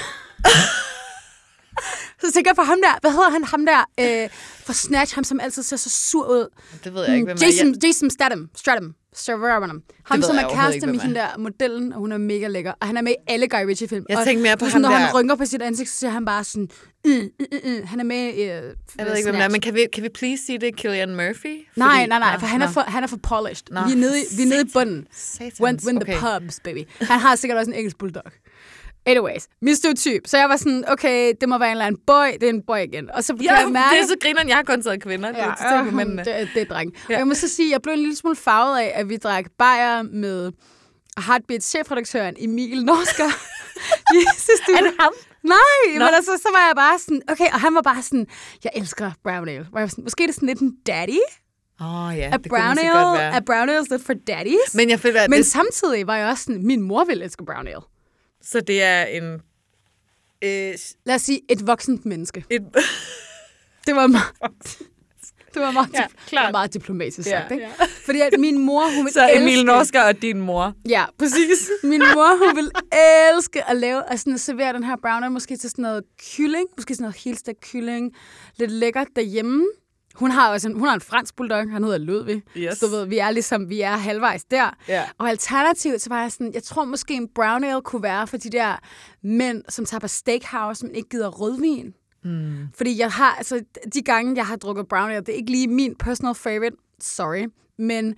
Speaker 2: så tænker jeg på ham der, hvad hedder han, ham der, øh, for Snatch, ham som altid ser så sur ud. Mm,
Speaker 4: Det ved jeg ikke, hvem er.
Speaker 2: Jason, Jason Statham, Stratham, Stratham. Ham
Speaker 4: ved
Speaker 2: som
Speaker 4: jeg
Speaker 2: er
Speaker 4: overhovedet
Speaker 2: kæreste
Speaker 4: ikke,
Speaker 2: med
Speaker 4: hvem
Speaker 2: hende der modellen, og hun er mega lækker. Og han er med i alle Guy Ritchie-film.
Speaker 4: Jeg
Speaker 2: og
Speaker 4: tænkte mere på
Speaker 2: det er sådan,
Speaker 4: ham
Speaker 2: Når han
Speaker 4: der.
Speaker 2: rynker på sit ansigt, så ser han bare sådan, øh, øh, øh, øh. han er med i øh,
Speaker 4: Jeg ved ikke, hvem det er, men kan vi, kan vi please sige, det er Killian Murphy?
Speaker 2: Nej, nej, nej, for han er for, han er for polished.
Speaker 4: Nå,
Speaker 2: vi, er nede, i- vi er nede i
Speaker 4: satans.
Speaker 2: bunden.
Speaker 4: Satans.
Speaker 2: When, when the
Speaker 4: Okay.
Speaker 2: pubs, baby. Han har sikkert også en engelsk bulldog. Anyways, min stereotyp. Så jeg var sådan, okay, det må være en eller anden boy. Det er en boy igen. Og så kan
Speaker 4: Ja,
Speaker 2: jeg mærke...
Speaker 4: det er så grineren, jeg har kun taget kvinder. Ja, det,
Speaker 2: ja,
Speaker 4: er øh, men,
Speaker 2: det, er- det er dreng. Ja.
Speaker 4: Ja.
Speaker 2: Og jeg må så sige, jeg blev en lille smule farvet af, at vi drak bajer med Heartbeat chefredaktøren Emil Norsker. Jesus, du...
Speaker 4: er det ham?
Speaker 2: Nej,
Speaker 4: Nå.
Speaker 2: men altså, så var jeg bare sådan, okay, og han var bare sådan, jeg elsker brown ale. Hvor jeg var sådan, Måske er det sådan lidt en daddy?
Speaker 4: Åh, oh, ja,
Speaker 2: Er
Speaker 4: det
Speaker 2: brown
Speaker 4: kunne måske
Speaker 2: ale,
Speaker 4: godt være.
Speaker 2: er brown ale lidt for daddies?
Speaker 4: Men jeg føler, at
Speaker 2: Men
Speaker 4: det,
Speaker 2: samtidig var jeg også sådan, min mor vil elske brown ale.
Speaker 4: så det er en... Øh,
Speaker 2: Lad os sige, et voksent menneske.
Speaker 4: et,
Speaker 2: Det var meget... Det var meget,
Speaker 4: Ja,
Speaker 2: ja, det
Speaker 4: klart.
Speaker 2: var meget diplomatisk
Speaker 4: Ja,
Speaker 2: sagt, ikke? Ja. Fordi at min mor, hun vil
Speaker 4: så
Speaker 2: elske...
Speaker 4: Emil Norsker og din mor.
Speaker 2: Ja, præcis. Min mor, hun vil elske at lave og sådan at servere den her brown ale, måske til sådan noget kylling, måske sådan noget helstegt kylling, lidt lækkert derhjemme. Hun har også en, hun har en fransk bulldog, han hedder Ludvig.
Speaker 4: Yes.
Speaker 2: Så du ved, vi er ligesom, vi er halvvejs der.
Speaker 4: Ja.
Speaker 2: Og alternativt, så var jeg sådan, jeg tror måske en brown ale kunne være for de der mænd, som tager på steakhouse, men ikke gider rødvin. Mm. Fordi jeg har, altså de gange, jeg har drukket brown ale, det er ikke lige min personal favorite, sorry, men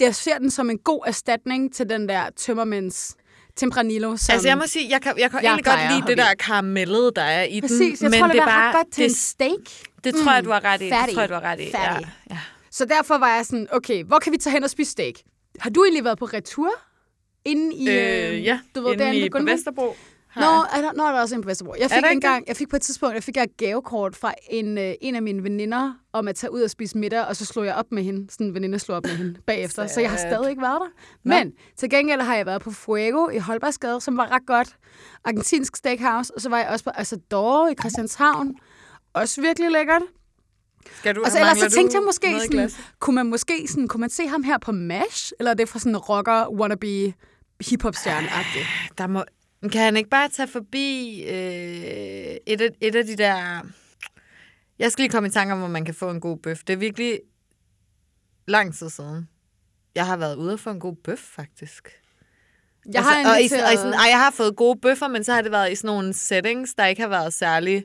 Speaker 2: jeg ser den som en god erstatning til den der tømmermænds Tempranillo, som... Mm,
Speaker 4: Altså, jeg må sige, jeg kan, jeg kan
Speaker 2: Jeg
Speaker 4: egentlig godt
Speaker 2: plejer
Speaker 4: lide
Speaker 2: at
Speaker 4: det
Speaker 2: hoppe
Speaker 4: der karamellede, der er i den.
Speaker 2: Præcis, jeg tror, det,
Speaker 4: det
Speaker 2: det var ret godt til en
Speaker 4: det,
Speaker 2: steak. Mm,
Speaker 4: det tror jeg, du har ret i.
Speaker 2: fattig,
Speaker 4: Det tror jeg, du har ret i. Ja.
Speaker 2: fattig. Så derfor var jeg sådan, okay, hvor kan vi tage hen og spise steak? Har du egentlig været på retur? Inde i,
Speaker 4: Øh, ja,
Speaker 2: du ved,
Speaker 4: inde
Speaker 2: derinde
Speaker 4: i, på
Speaker 2: Gunnvig?
Speaker 4: Vesterbro. har
Speaker 2: Nå,
Speaker 4: jeg.
Speaker 2: er der, nå, er der også en på Vesterbro. Jeg
Speaker 4: Er
Speaker 2: fik,
Speaker 4: der
Speaker 2: en
Speaker 4: ikke
Speaker 2: gang, jeg fik på et tidspunkt jeg fik jeg et gavekort fra en, øh, en af mine veninder om at tage ud og spise middag, og så slog jeg op med hende. Sådan en veninde slog op med hende bagefter, så jeg har stadig ikke været der. Men til gengæld har jeg været på Fuego i Holbergsgade, som var ret godt. Argentinsk steakhouse, og så var jeg også på Asadoro i Christianshavn. Også virkelig lækkert.
Speaker 4: Skal du,
Speaker 2: Og så ellers
Speaker 4: mangler
Speaker 2: så tænkte
Speaker 4: du
Speaker 2: jeg måske,
Speaker 4: noget i
Speaker 2: sådan,
Speaker 4: glasset?
Speaker 2: kunne man måske sådan, kunne man se ham her på MASH? Eller er det fra sådan en rocker, wannabe, hiphop-stjerne-agtigt?
Speaker 4: Der må... Kan han ikke bare tage forbi øh, et, af, et af de der... Jeg skal lige komme i tanke om, hvor man kan få en god bøf. Det er virkelig lang tid siden. Jeg har været ude og få en god bøf, faktisk.
Speaker 2: Jeg har
Speaker 4: altså, og, i,
Speaker 2: inviteret...
Speaker 4: og, i sådan, og jeg har fået gode bøffer, men så har det været i sådan nogle settings, der ikke har været særlig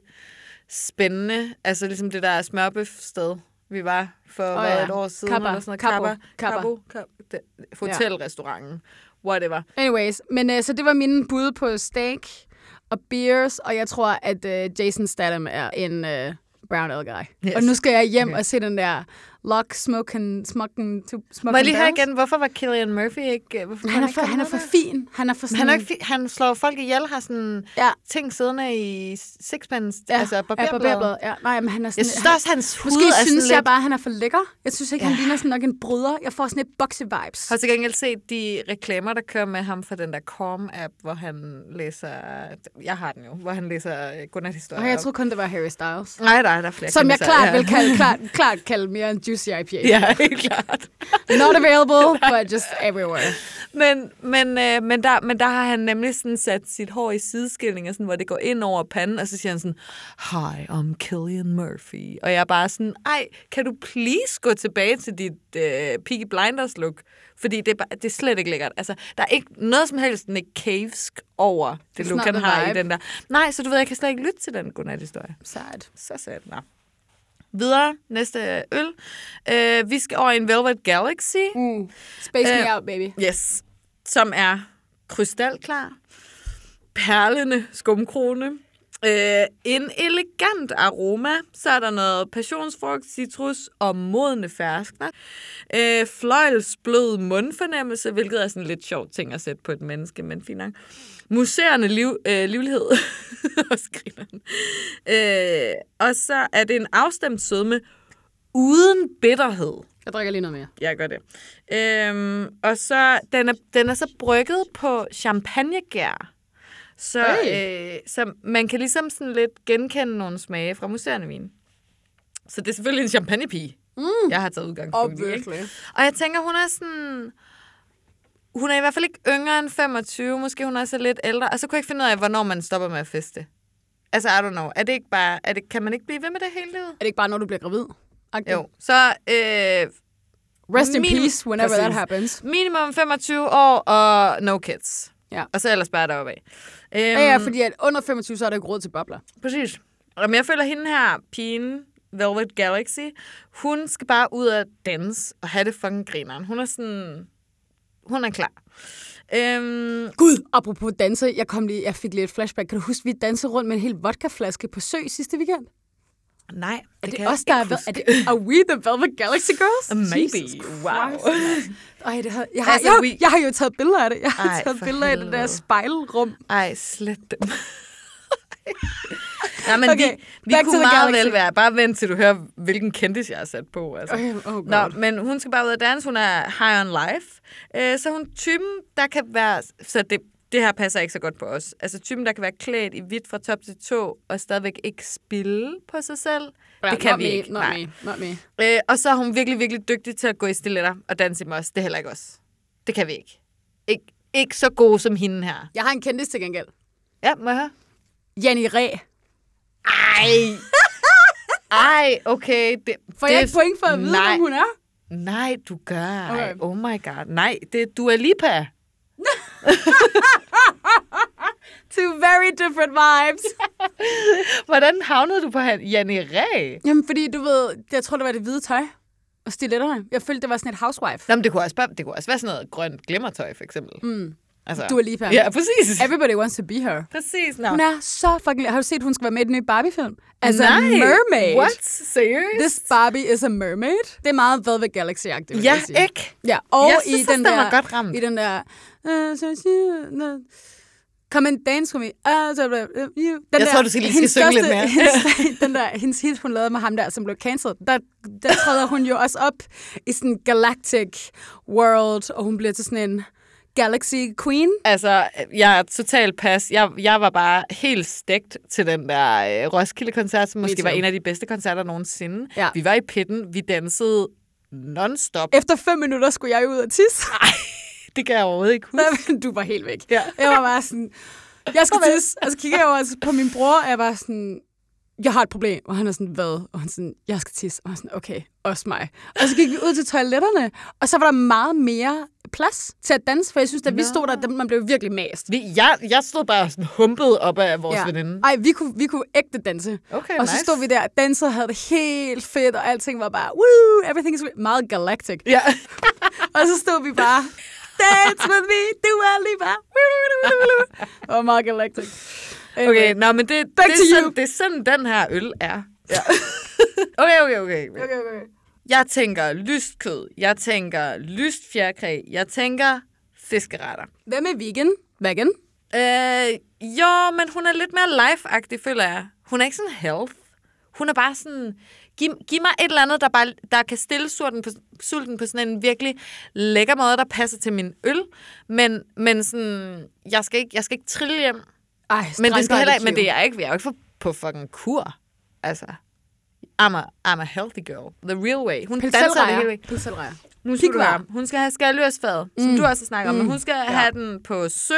Speaker 4: spændende. Altså ligesom det der smørbøf-sted, vi var for oh,
Speaker 2: ja.
Speaker 4: ja. et år siden.
Speaker 2: Kappa.
Speaker 4: Eller sådan noget.
Speaker 2: Kappo. Kappa.
Speaker 4: Kappa. Kappa. Kappa. Hotelrestauranten. Whatever.
Speaker 2: Anyways, men øh, så det var mine bud på steak og beers, og jeg tror, at øh, Jason Statham er en øh, brown ale guy. Yes.
Speaker 4: Yes.
Speaker 2: Og nu skal jeg hjem okay. og se den der Lock, smoking, smoking, to, smoking
Speaker 4: Må jeg lige høre
Speaker 2: barrels.
Speaker 4: igen, hvorfor var Killian Murphy ikke... øh, Hvorfor
Speaker 2: Han er, for, han er for fin. Han er for sådan...
Speaker 4: Han, er ikke, fi- han slår folk ihjel, har sådan
Speaker 2: Ja.
Speaker 4: ja. ting siddende i sixpence,
Speaker 2: Ja,
Speaker 4: ja. altså
Speaker 2: ja,
Speaker 4: barberblad.
Speaker 2: barberblad. Ja, nej, men han er sådan...
Speaker 4: Jeg synes da også, hans hud
Speaker 2: Måske
Speaker 4: er sådan
Speaker 2: synes
Speaker 4: lidt...
Speaker 2: jeg bare, at han er for lækker. Jeg synes ikke, ja. han
Speaker 4: Ja.
Speaker 2: ligner sådan nok en bryder. Jeg får sådan et bokse-vibes.
Speaker 4: Har til gengæld set de reklamer, der kører med ham fra den der Corm-app, hvor han læser... Jeg har den jo, hvor han læser øh, godnathistorier.
Speaker 2: Og jeg troede kun, det var Harry Styles.
Speaker 4: Nej, nej, der er flere.
Speaker 2: Som jeg
Speaker 4: kendisser,
Speaker 2: klart
Speaker 4: ja.
Speaker 2: vil kalde, klart, klart kalde mere en juicy IPA.
Speaker 4: Ja, helt klart.
Speaker 2: Not available, but just everywhere.
Speaker 4: Men, men, øh, men, der, men der har han nemlig sådan sat sit hår i sideskilling, og sådan, hvor det går ind over panden, og så siger han sådan, Hi, I'm Killian Murphy. Og jeg er bare sådan, ej, kan du please gå tilbage til dit øh, Peaky Blinders look? Fordi det er, bare, det er slet ikke lækkert. Altså, der er ikke noget som helst Nick Cavesk over det
Speaker 2: It's
Speaker 4: look,
Speaker 2: not
Speaker 4: han
Speaker 2: the
Speaker 4: har i
Speaker 2: vibe.
Speaker 4: den der. Nej, så du ved, jeg kan slet ikke lytte til den godnat-historie.
Speaker 2: Sejt.
Speaker 4: Så sagde den, op. Videre, næste øl. Øh, vi skal over i en Velvet Galaxy.
Speaker 2: Mm. Space me
Speaker 4: Øh,
Speaker 2: out, baby.
Speaker 4: Yes. Som er krystalklar, perlende skumkrone, øh, en elegant aroma, så er der noget passionsfrugt, citrus og modne ferskner, øh, fløjlsblød mundfornemmelse, hvilket er sådan lidt sjov ting at sætte på et menneske, men fint nok. Muserende liv, øh, livlighed og skrineren. Øh, og så er det en afstemt sødme uden bitterhed.
Speaker 2: Jeg drikker lige noget mere.
Speaker 4: Jeg gør det. Øhm, og så, den er, den er så brygget på champagnegær. Så, øh, så man kan ligesom sådan lidt genkende nogle smage fra museerne vin. Så det er selvfølgelig en champagnepige, mm. jeg har taget udgangspunkt i. ikke?
Speaker 2: Obviously.
Speaker 4: Og jeg tænker, hun er sådan... Hun er i hvert fald ikke yngre end 25, måske hun er så lidt ældre. Og så kunne jeg ikke finde ud af, hvornår man stopper med at feste. Altså, I don't know. Er det ikke bare... Er det, kan man ikke blive ved med det hele livet?
Speaker 2: Er det ikke bare, når du bliver gravid? Agtigt.
Speaker 4: Jo. Så øh,
Speaker 2: Rest in
Speaker 4: Min-
Speaker 2: peace, whenever that
Speaker 4: Præcis.
Speaker 2: happens.
Speaker 4: Minimum 25 år og no kids.
Speaker 2: Ja.
Speaker 4: Og så ellers bare deroppe af. Øhm,
Speaker 2: Ja, ja, fordi at under 25, så er der ikke råd til bobler.
Speaker 4: Præcis. Jamen, jeg føler, hende her, pigen, Velvet Galaxy, hun skal bare ud og danse og have det fucking grineren. Hun er sådan... Hun er klar. Øhm,
Speaker 2: Gud, apropos danse, jeg, kom lige, jeg fik lige et flashback. Kan du huske, vi dansede rundt med en hel vodkaflaske på sø sidste weekend?
Speaker 4: nej, det,
Speaker 2: Er det,
Speaker 4: kan
Speaker 2: det
Speaker 4: jeg
Speaker 2: os, der er,
Speaker 4: ikke
Speaker 2: ved- er
Speaker 4: huske.
Speaker 2: det, are we the Velvet Galaxy Girls?
Speaker 4: Maybe. Wow.
Speaker 2: Ej, det har, jeg, har,
Speaker 4: Altså,
Speaker 2: jeg,
Speaker 4: we-
Speaker 2: jeg har jo taget billeder af det. Jeg har
Speaker 4: Ej,
Speaker 2: taget
Speaker 4: for
Speaker 2: billeder af det der
Speaker 4: helvede.
Speaker 2: spejlrum.
Speaker 4: Ej, slet dem. Nej, men
Speaker 2: Okay,
Speaker 4: okay, vi, vi
Speaker 2: back to
Speaker 4: kunne
Speaker 2: the
Speaker 4: meget
Speaker 2: galaxy.
Speaker 4: vel være. Bare vent til du hører, hvilken kendis jeg har sat på. Altså.
Speaker 2: Okay, oh God.
Speaker 4: Nå, men hun skal bare ud og danse. Hun er high on life. Øh, så hun er typen, der kan være... Så det, det her passer ikke så godt på os. Altså typen, der kan være klædt i hvidt fra top til tå, og stadigvæk ikke spille på sig selv.
Speaker 2: Ja,
Speaker 4: det kan
Speaker 2: not
Speaker 4: vi
Speaker 2: me,
Speaker 4: ikke.
Speaker 2: Not
Speaker 4: nej.
Speaker 2: me, not me.
Speaker 4: Øh, og så er hun virkelig, virkelig dygtig til at gå i stiletter og danse i mos. Det er heller ikke os. Det kan vi ikke. Ik- ikke så gode som hende her.
Speaker 2: Jeg har en kendis til gengæld.
Speaker 4: Ja, må jeg høre?
Speaker 2: Janni Ræ.
Speaker 4: Ej. Ej, okay. Det,
Speaker 2: Får
Speaker 4: det,
Speaker 2: jeg et point for at vide,
Speaker 4: nej,
Speaker 2: hvem hun er?
Speaker 4: Nej, du gør ej.
Speaker 2: Okay.
Speaker 4: Oh my god. Nej, det er Dua Lipa.
Speaker 2: Two very different vibes.
Speaker 4: Hvordan havnede du på han? Janne Ræ?
Speaker 2: Jamen, fordi du ved, jeg tror, det var det hvide tøj og stiletterne. Jeg følte, det var sådan et housewife.
Speaker 4: Nå, men det kunne, også bare, det kunne også være sådan noget grønt glimmertøj, for eksempel. Mm. Altså,
Speaker 2: Dua Lipa.
Speaker 4: Ja, præcis.
Speaker 2: Everybody wants to be her.
Speaker 4: Præcis, nå.
Speaker 2: Hun er så fucking... Har du set, hun skal være med i den nye Barbie-film? Altså,
Speaker 4: Nej.
Speaker 2: mermaid.
Speaker 4: What? Seriøst?
Speaker 2: This Barbie is a mermaid. Det er meget Velvet Galaxy-agtigt, vil
Speaker 4: ja,
Speaker 2: jeg sige.
Speaker 4: ikke?
Speaker 2: Ja, og
Speaker 4: Jeg
Speaker 2: i
Speaker 4: synes,
Speaker 2: den
Speaker 4: den
Speaker 2: der...
Speaker 4: var godt ramt.
Speaker 2: I den der... Uh, so she- no. Come and dance with me. Uh, so, uh, you. Den
Speaker 4: Jeg tror, du skal lige skal
Speaker 2: hendes
Speaker 4: synge lidt
Speaker 2: største-
Speaker 4: mere.
Speaker 2: hendes, den der, hendes hit, hun lavede med ham der, som blev cancelled, der, der træder hun jo også op i sådan en galactic world, og hun bliver til sådan en galaxy queen.
Speaker 4: Altså, jeg er totalt pas. Jeg, jeg var bare helt stegt til den der øh, Roskilde-koncert, som måske
Speaker 2: too.
Speaker 4: var en af de bedste koncerter nogensinde.
Speaker 2: Ja.
Speaker 4: Vi var i pitten, vi dansede non-stop.
Speaker 2: Efter fem minutter skulle jeg jo ud og tisse.
Speaker 4: Det kan jeg overhovedet ikke huske.
Speaker 2: Men du var helt væk.
Speaker 4: Ja.
Speaker 2: Jeg var bare sådan, jeg skal tisse. Og så kigger jeg over altså, på min bror, og jeg var sådan, jeg har et problem. Og han er sådan, hvad? Og han er sådan, jeg skal tisse. Og jeg er sådan, okay, også mig. Og så gik vi ud til toiletterne, og så var der meget mere plads til at danse, for jeg synes, da vi stod der, der man blev virkelig mast.
Speaker 4: Vi, jeg, jeg stod bare sådan humpet op af vores ja. veninde.
Speaker 2: Ej, vi kunne, vi kunne ægte danse.
Speaker 4: Okay,
Speaker 2: og så
Speaker 4: nice.
Speaker 2: stod vi der og dansede og havde det helt fedt, og alting var bare, woo, everything is great." meget galactic.
Speaker 4: Ja.
Speaker 2: Og så stod vi bare, dance with me, du er lige bare. Det var meget galactic.
Speaker 4: Okay, nå, men det, det,
Speaker 2: Back to
Speaker 4: er
Speaker 2: you.
Speaker 4: sådan, det er sådan, den her øl er. Ja. okay, okay, okay.
Speaker 2: okay, okay.
Speaker 4: Jeg tænker lyst kød. Jeg tænker lyst fjerkræ. Jeg tænker fiskeretter.
Speaker 2: Hvad med vegan? Vegan?
Speaker 4: Øh, jo, men hun er lidt mere life-agtig, føler jeg. Hun er ikke sådan health. Hun er bare sådan, giv, giv mig et eller andet, der, bare, der kan stille sulten på, sulten på sådan en virkelig lækker måde, der passer til min øl. Men, men sådan, jeg skal, ikke, jeg skal ikke trille hjem.
Speaker 2: Ej,
Speaker 4: Men, det skal heller,
Speaker 2: ikke,
Speaker 4: ikke- men det er jeg ikke, jeg er jo ikke for, på fucking kur. Altså, I'm a, I'm a healthy girl. The real way. Hun danser det hele
Speaker 2: Pilselrejer.
Speaker 4: væk.
Speaker 2: Pilselrejer.
Speaker 4: Nu skal du
Speaker 2: Pikvar.
Speaker 4: være. Hun skal have skaldyrsfadet, som
Speaker 2: Mm.
Speaker 4: du også har snakket om. Men hun skal ja. have den på sø,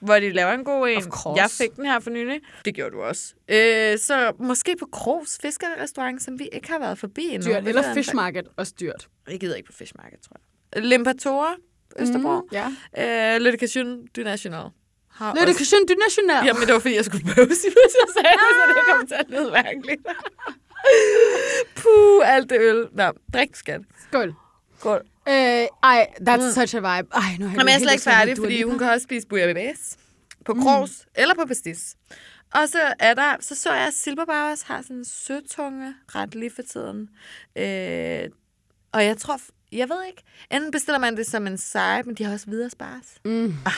Speaker 4: hvor de laver en god en.
Speaker 2: course.
Speaker 4: Jeg fik den her for nylig. Det gjorde du også. Øh, så måske på Krogs fiskerrestaurant, som vi ikke har været forbi endnu.
Speaker 2: Dyrt.
Speaker 4: Hvilket er
Speaker 2: Eller
Speaker 4: en
Speaker 2: fish
Speaker 4: fejl.
Speaker 2: market. Også dyrt.
Speaker 4: Jeg gider ikke på Fish Market, tror jeg. Limpatora, Østerbro.
Speaker 2: ja.
Speaker 4: Mm. Øh, Le Décation du National. Har
Speaker 2: Lidt
Speaker 4: også-
Speaker 2: Christian du national.
Speaker 4: Jamen, det var fordi, jeg skulle bøvse, hvis jeg sagde det, så det kom til at lyde mærkeligt. Puh, alt det øl. Nå, drik, skat.
Speaker 2: Skål.
Speaker 4: Skål.
Speaker 2: Øh, ej, that's such a vibe. Ej, nu har
Speaker 4: Jamen, Mm. jeg er
Speaker 2: helt
Speaker 4: slet ikke
Speaker 2: lyst til at have
Speaker 4: færdig,
Speaker 2: Dua
Speaker 4: fordi
Speaker 2: Lipa.
Speaker 4: hun kan også spise bouillabaisse på krogs mm. eller på pastis. Og så er der, så så jeg, at Silberbar også har sådan en søtunge ret lige for tiden. Øh, og jeg tror, jeg ved ikke, enten bestiller man det som en side, men de har også videre spars. Mm. Ah,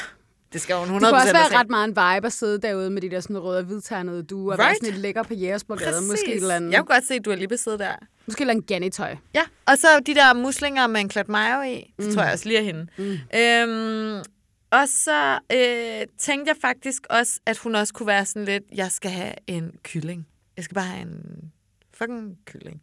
Speaker 4: det skal hun 100%
Speaker 2: Det kunne også
Speaker 4: have
Speaker 2: være
Speaker 4: set.
Speaker 2: ret meget en vibe at sidde derude med de der sådan røde og hvidternede duer. Right? Og være
Speaker 4: Right.
Speaker 2: sådan lidt lækker på Jægersborgade.
Speaker 4: Præcis.
Speaker 2: Måske et eller andet,
Speaker 4: Jeg kunne godt se, at du er lige sidde der.
Speaker 2: måske et eller andet gannetøj.
Speaker 4: Ja, og så de der muslinger med en klat mayo i. Det mm. tror jeg også lige er hende. Mm. Øhm, og så øh, tænkte jeg faktisk også, at hun også kunne være sådan lidt, jeg skal have en kylling. Jeg skal bare have en fucking kylling.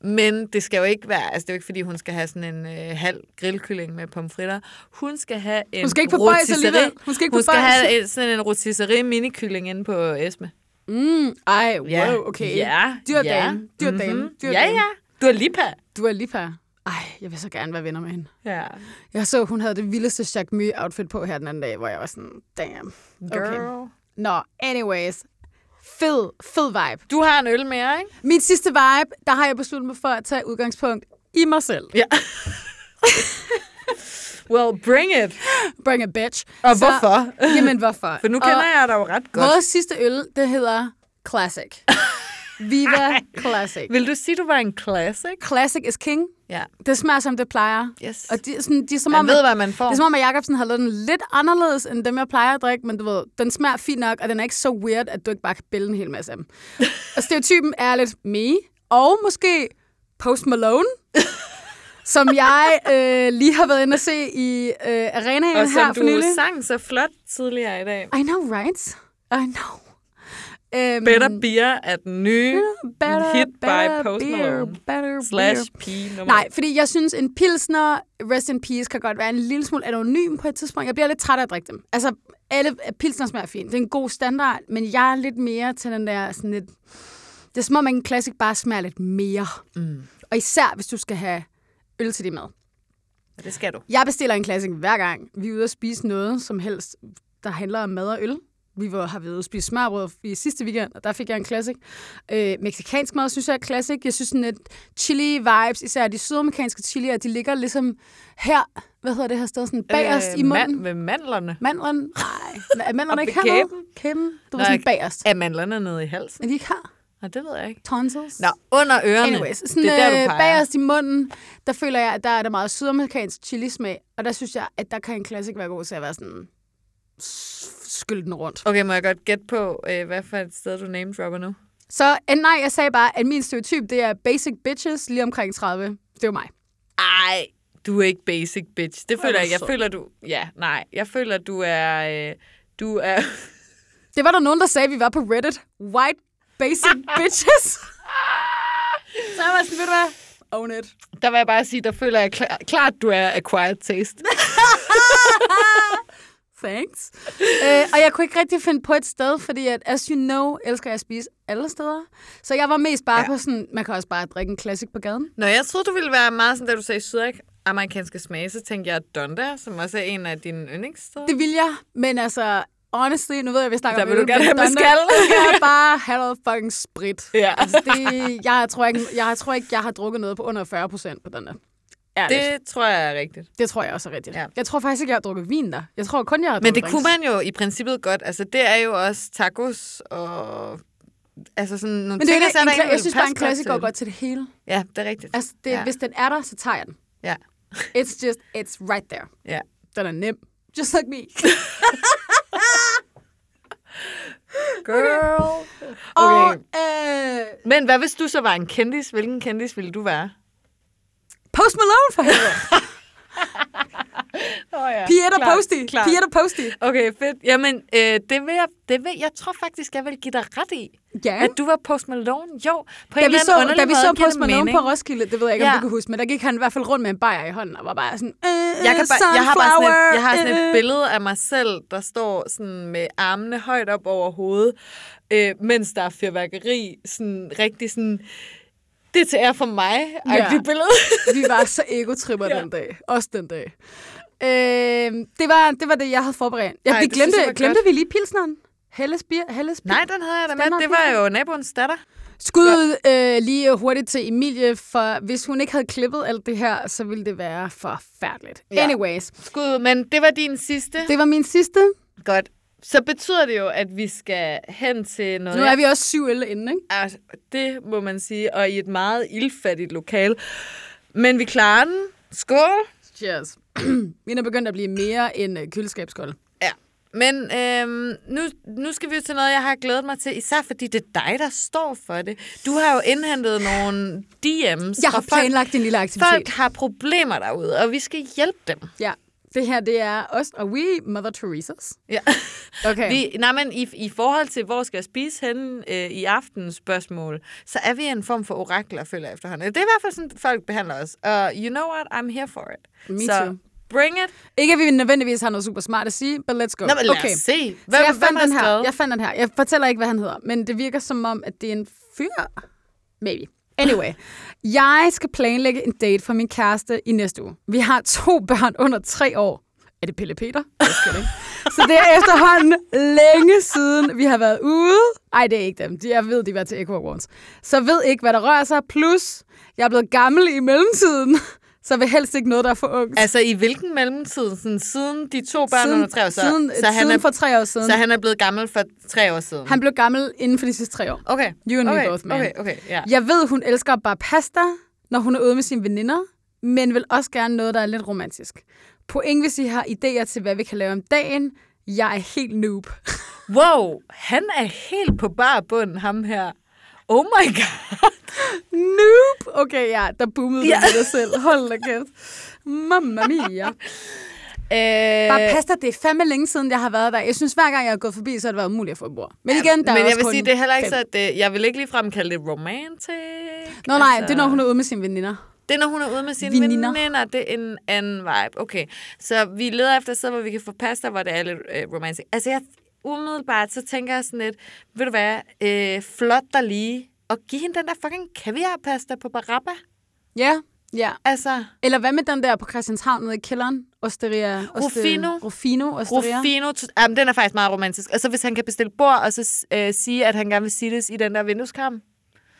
Speaker 4: Men det skal jo ikke være, altså det er jo ikke fordi, hun skal have sådan en øh, halv grillkylling med pomfritter. Hun skal have en
Speaker 2: Hun skal ikke på bajs
Speaker 4: rotisserie-
Speaker 2: alligevel. Hun skal ikke
Speaker 4: Hun
Speaker 2: på
Speaker 4: skal
Speaker 2: bajs.
Speaker 4: have en, sådan en rotisserie minikylling inde på Esme.
Speaker 2: Mm, ej, wow,
Speaker 4: Ja,
Speaker 2: okay.
Speaker 4: Ja.
Speaker 2: Dyr
Speaker 4: ja.
Speaker 2: dame, dyr dame,
Speaker 4: Mhm.
Speaker 2: dyr
Speaker 4: Ja,
Speaker 2: dame.
Speaker 4: ja. Du er lige
Speaker 2: Du er lige per. Ej, jeg vil så gerne være venner med hende.
Speaker 4: Ja.
Speaker 2: Jeg så, hun havde det vildeste Jacques Mue-outfit på her den anden dag, hvor jeg var sådan, damn. Okay.
Speaker 4: Girl.
Speaker 2: Nå, anyways. Fed, fed vibe.
Speaker 4: Du har en øl mere, ikke?
Speaker 2: Min sidste vibe, der har jeg besluttet mig for at tage udgangspunkt i mig selv.
Speaker 4: Ja. well, bring it.
Speaker 2: Bring a bitch.
Speaker 4: Og hvorfor?
Speaker 2: Jamen, hvorfor?
Speaker 4: For nu kender jeg dig jo ret godt.
Speaker 2: Vores sidste øl, det hedder Classic. Viva Classic.
Speaker 4: Vil du sige, du var en classic?
Speaker 2: Classic is king.
Speaker 4: Ja.
Speaker 2: Det smager, som det plejer.
Speaker 4: Yes.
Speaker 2: Og de, er sådan, de er som
Speaker 4: Man
Speaker 2: om,
Speaker 4: ved,
Speaker 2: at-
Speaker 4: hvad man får.
Speaker 2: Det er som om, at Jacobsen har lavet den lidt anderledes, end dem, jeg plejer at drikke, men du ved, den smager fint nok, og den er ikke så weird, at du ikke bare kan bælge en hel masse af dem. og stereotypen er lidt me, og måske Post Malone, som jeg øh, lige har været inde at se i øh, arenaen
Speaker 4: Og
Speaker 2: her
Speaker 4: som
Speaker 2: for
Speaker 4: du
Speaker 2: nylig.
Speaker 4: sang så flot tidligere i dag.
Speaker 2: I know, right? I know. Um,
Speaker 4: Better Beer er den nye hit by Post
Speaker 2: beer,
Speaker 4: Malone.
Speaker 2: Better
Speaker 4: Slash
Speaker 2: beer.
Speaker 4: P nummer.
Speaker 2: Nej, fordi jeg synes, en pilsner, rest in peace, kan godt være en lille smule anonym på et tidspunkt. Jeg bliver lidt træt af at drikke dem. Altså, alle pilsner smager fint. Det er en god standard, men jeg er lidt mere til den der sådan lidt... Det er som om, at en classic bare smager lidt mere. Mm. Og især, hvis du skal have øl til din mad.
Speaker 4: Det skal du.
Speaker 2: Jeg bestiller en classic hver gang. Vi er ude at spise noget, som helst, der handler om mad og øl. Vi var, har været ude at spise smørbrød i sidste weekend, og der fik jeg en classic. Øh, meksikansk mad synes jeg er classic. Jeg synes sådan lidt chili vibes, især de sydamerikanske chilier, de ligger ligesom her, hvad hedder det her sted, sådan bagerst øh, i munden.
Speaker 4: Med mandlerne.
Speaker 2: Mandlen? Nej. Er mandlerne
Speaker 4: Og
Speaker 2: ikke
Speaker 4: ved
Speaker 2: hernede?
Speaker 4: kæben?
Speaker 2: Kæben? Du var
Speaker 4: Nå,
Speaker 2: sådan
Speaker 4: jeg-
Speaker 2: bagerst.
Speaker 4: Er mandlerne nede i halsen?
Speaker 2: Er de ikke her?
Speaker 4: Nej, det ved jeg ikke.
Speaker 2: Tonsils?
Speaker 4: Nå, under ørerne.
Speaker 2: Anyways, sådan,
Speaker 4: det er der, du
Speaker 2: øh,
Speaker 4: peger.
Speaker 2: bagerst i munden, der føler jeg, at der er der meget sydamerikansk chilismag, og der synes jeg, at der kan en klassik være god til at være sådan s- skylle den rundt.
Speaker 4: Okay, må jeg godt gætte på, øh, hvad for et sted du name dropper nu?
Speaker 2: Så eh, nej, jeg sagde bare, at min stereotyp, det er basic bitches lige omkring 30. Det er jo mig.
Speaker 4: Ej, du er ikke basic bitch. Det føler
Speaker 2: du
Speaker 4: jeg ikke. Jeg
Speaker 2: sød.
Speaker 4: føler, du... Ja, nej. Jeg føler, du er... Øh, du er...
Speaker 2: Det var der nogen, der sagde, at vi var på Reddit. White basic bitches.
Speaker 4: Så var sådan, ved du hvad?
Speaker 2: Own it.
Speaker 4: Der vil jeg bare sige, der føler jeg klar, klart, du er acquired taste.
Speaker 2: Thanks. øh, og jeg kunne ikke rigtig finde på et sted, fordi at, as you know, elsker jeg at spise alle steder. Så jeg var mest bare ja. på sådan, man kan også bare drikke en classic på gaden.
Speaker 4: Nå, jeg troede, du ville være meget sådan, da du sagde sydamerikanske smage, så tænkte jeg, at Donda, som også er en af dine yndlingssteder.
Speaker 2: Det vil jeg, men altså, honestly, nu ved jeg, at vi snakker
Speaker 4: Der
Speaker 2: om
Speaker 4: vil du
Speaker 2: øl,
Speaker 4: gerne
Speaker 2: men
Speaker 4: have med
Speaker 2: Donda-
Speaker 4: skal.
Speaker 2: Jeg vil bare have noget fucking sprit.
Speaker 4: Ja.
Speaker 2: Altså, det, jeg, tror ikke, jeg tror ikke, jeg har drukket noget på under 40 procent på den der. Ærligt. Det,
Speaker 4: Det tror jeg er rigtigt.
Speaker 2: det tror jeg også er rigtigt. Ja.
Speaker 4: Ja.
Speaker 2: Jeg tror faktisk ikke, jeg har drukket vin der. Jeg tror kun, jeg har
Speaker 4: Men
Speaker 2: drukket
Speaker 4: det kunne
Speaker 2: drinks.
Speaker 4: man jo i princippet godt. Altså, det er jo også tacos og altså sådan nogle
Speaker 2: Men det er jo
Speaker 4: ting, der
Speaker 2: ikke en,
Speaker 4: sætter
Speaker 2: kla-
Speaker 4: en,
Speaker 2: jeg synes bare, en
Speaker 4: pas godt
Speaker 2: klassiker
Speaker 4: til.
Speaker 2: går godt til det hele.
Speaker 4: Ja, det er rigtigt.
Speaker 2: Altså, det,
Speaker 4: ja.
Speaker 2: ja. hvis den er der, så tager jeg den.
Speaker 4: Ja.
Speaker 2: It's just, it's right there.
Speaker 4: ja.
Speaker 2: Den er nem. Just like me.
Speaker 4: Girl.
Speaker 2: Okay. Og,
Speaker 4: Okay.
Speaker 2: øh,
Speaker 4: Men hvad hvis du så var en kendis? Hvilken kendis ville du være?
Speaker 2: Post Malone for helvede.
Speaker 4: Oh, ja.
Speaker 2: Piet og Posty. Piet og Posty.
Speaker 4: Okay, fedt. Jamen, øh, det, vil jeg, det vil jeg tror faktisk, jeg vil give dig ret i.
Speaker 2: Ja.
Speaker 4: At du var Post Malone. Jo, på
Speaker 2: Da
Speaker 4: en
Speaker 2: vi,
Speaker 4: eller anden
Speaker 2: så,
Speaker 4: underlig
Speaker 2: da vi
Speaker 4: måde
Speaker 2: så
Speaker 4: giver
Speaker 2: Post
Speaker 4: det
Speaker 2: Malone
Speaker 4: mening.
Speaker 2: på Roskilde, det ved jeg ikke, om
Speaker 4: Ja.
Speaker 2: du kan huske, men der gik han i hvert fald rundt med en bajer i hånden og var bare sådan, øh,
Speaker 4: jeg, kan bare, jeg, har bare sådan et, jeg har sådan et
Speaker 2: øh.
Speaker 4: billede af mig selv, der står sådan med armene højt op over hovedet, øh, mens der er fyrværkeri. Sådan rigtig sådan, det er til ære for mig,
Speaker 2: Ja.
Speaker 4: ja. billede.
Speaker 2: Vi var så egotripper ja. den dag. Også den dag. Øh, det, var, det var det, jeg havde forberedt. Jeg,
Speaker 4: Ej,
Speaker 2: vi
Speaker 4: det
Speaker 2: glemte,
Speaker 4: synes jeg var
Speaker 2: glemte vi lige pilsneren? Helles, bier, Helles
Speaker 4: Nej, den havde jeg da
Speaker 2: Standard
Speaker 4: med. Det var jo naboens datter.
Speaker 2: Skud ud øh, lige hurtigt til Emilie, for hvis hun ikke havde klippet alt det her, så ville det være forfærdeligt. Ja.
Speaker 4: Ja.
Speaker 2: Anyways,
Speaker 4: Skud, men det var din sidste.
Speaker 2: det var min sidste.
Speaker 4: Godt. Så betyder det jo, at vi skal hen til noget...
Speaker 2: Nu er vi også syv øl inde, ikke?
Speaker 4: Altså, det må man sige, og i et meget ildfattigt lokal. Men vi klarer den. Skål!
Speaker 2: Cheers. Min er begyndt at blive mere end øh, køleskabskold.
Speaker 4: Ja. Men øhm, nu, nu skal vi jo til noget, jeg har glædet mig til, især fordi det er dig, der står for det. Du har jo indhentet nogle DM's
Speaker 2: Jeg
Speaker 4: fra
Speaker 2: har planlagt en lille aktivitet.
Speaker 4: folk. Folk har problemer derude, og vi skal hjælpe dem.
Speaker 2: Ja, det her det er os og we, Mother Teresa's.
Speaker 4: Ja.
Speaker 2: Okay.
Speaker 4: Vi, nej, men i, i forhold til, hvor skal jeg spise henne øh, i aftens spørgsmål, så er vi en form for orakler, føler jeg efterhånden. Det er i hvert fald sådan, folk behandler os. Og you know what? I'm here for it.
Speaker 2: Me
Speaker 4: så
Speaker 2: too.
Speaker 4: bring it.
Speaker 2: Ikke at vi nødvendigvis har noget super smart at sige, but let's go.
Speaker 4: Nå, men lad
Speaker 2: okay.
Speaker 4: os se.
Speaker 2: Hvem, så jeg fandt,
Speaker 4: har
Speaker 2: den her.
Speaker 4: skrevet?
Speaker 2: jeg fandt den her. Jeg fortæller ikke, hvad han hedder, men det virker som om, at det er en fyr. Maybe. Anyway, jeg skal planlægge en date for min kæreste i næste uge. Vi har to børn under tre år. Er det Pelle Peter? Jeg skal det ikke. Så det er efterhånden længe siden, vi har været ude. Ej, det er ikke dem. De- Jeg ved, de var til Echo Awards. Så ved ikke, hvad der rører sig. Plus, jeg er blevet gammel i mellemtiden. Så vil helst ikke noget, der er for ungt.
Speaker 4: Altså, i hvilken mellemtid? Sådan, siden de to børn under tre år, så,
Speaker 2: siden,
Speaker 4: så, han
Speaker 2: siden
Speaker 4: er,
Speaker 2: for tre år siden.
Speaker 4: så han er blevet gammel for tre år siden.
Speaker 2: Han blev gammel inden for de sidste tre år.
Speaker 4: okay.
Speaker 2: You and me
Speaker 4: okay.
Speaker 2: both, man.
Speaker 4: Okay, okay, ja.
Speaker 2: Jeg ved, hun elsker bare pasta, når hun er ude med sine veninder, men vil også gerne noget, der er lidt romantisk. Point, hvis I har idéer til, hvad vi kan lave om dagen. Jeg er helt noob.
Speaker 4: Wow, han er helt på bar bund, ham her. Oh my god.
Speaker 2: noob! Okay, ja, der boomede ja. det selv. Hold da kæft. Mamma mia.
Speaker 4: Øh,
Speaker 2: Bare pasta, det er fandme længe siden, jeg har været der. Jeg synes, hver gang jeg har gået forbi, så har det været umuligt at få et bord. Men igen, der
Speaker 4: men
Speaker 2: er
Speaker 4: jeg
Speaker 2: også
Speaker 4: vil
Speaker 2: kun
Speaker 4: sige, det er heller ikke
Speaker 2: fem.
Speaker 4: så, at øh, jeg vil ikke ligefrem kalde det romantic.
Speaker 2: Nå nej, det er,
Speaker 4: Altså-
Speaker 2: når hun er ude med sine veninder.
Speaker 4: Det er, når hun er ude med sine
Speaker 2: Veninder.
Speaker 4: veninder. veninder. Det er en anden vibe. Okay, så vi leder efter et sted, hvor vi kan få pasta, hvor det er lidt øh, romantic. Altså, jeg, umiddelbart, så tænker jeg sådan lidt, ved du hvad, øh, flot dig lige, og giv hende den der fucking kaviarpasta på Barabba.
Speaker 2: Ja, ja.
Speaker 4: Altså,
Speaker 2: Eller hvad med den der på Christianshavn nede i kælderen? Osteria. Oste-
Speaker 4: Rufino.
Speaker 2: Rufino. Osteria.
Speaker 4: Rufino, to- jamen, den er faktisk meget romantisk. Og så hvis han kan bestille bord, og så øh, sige, at han gerne vil sittes i den der vindueskarm.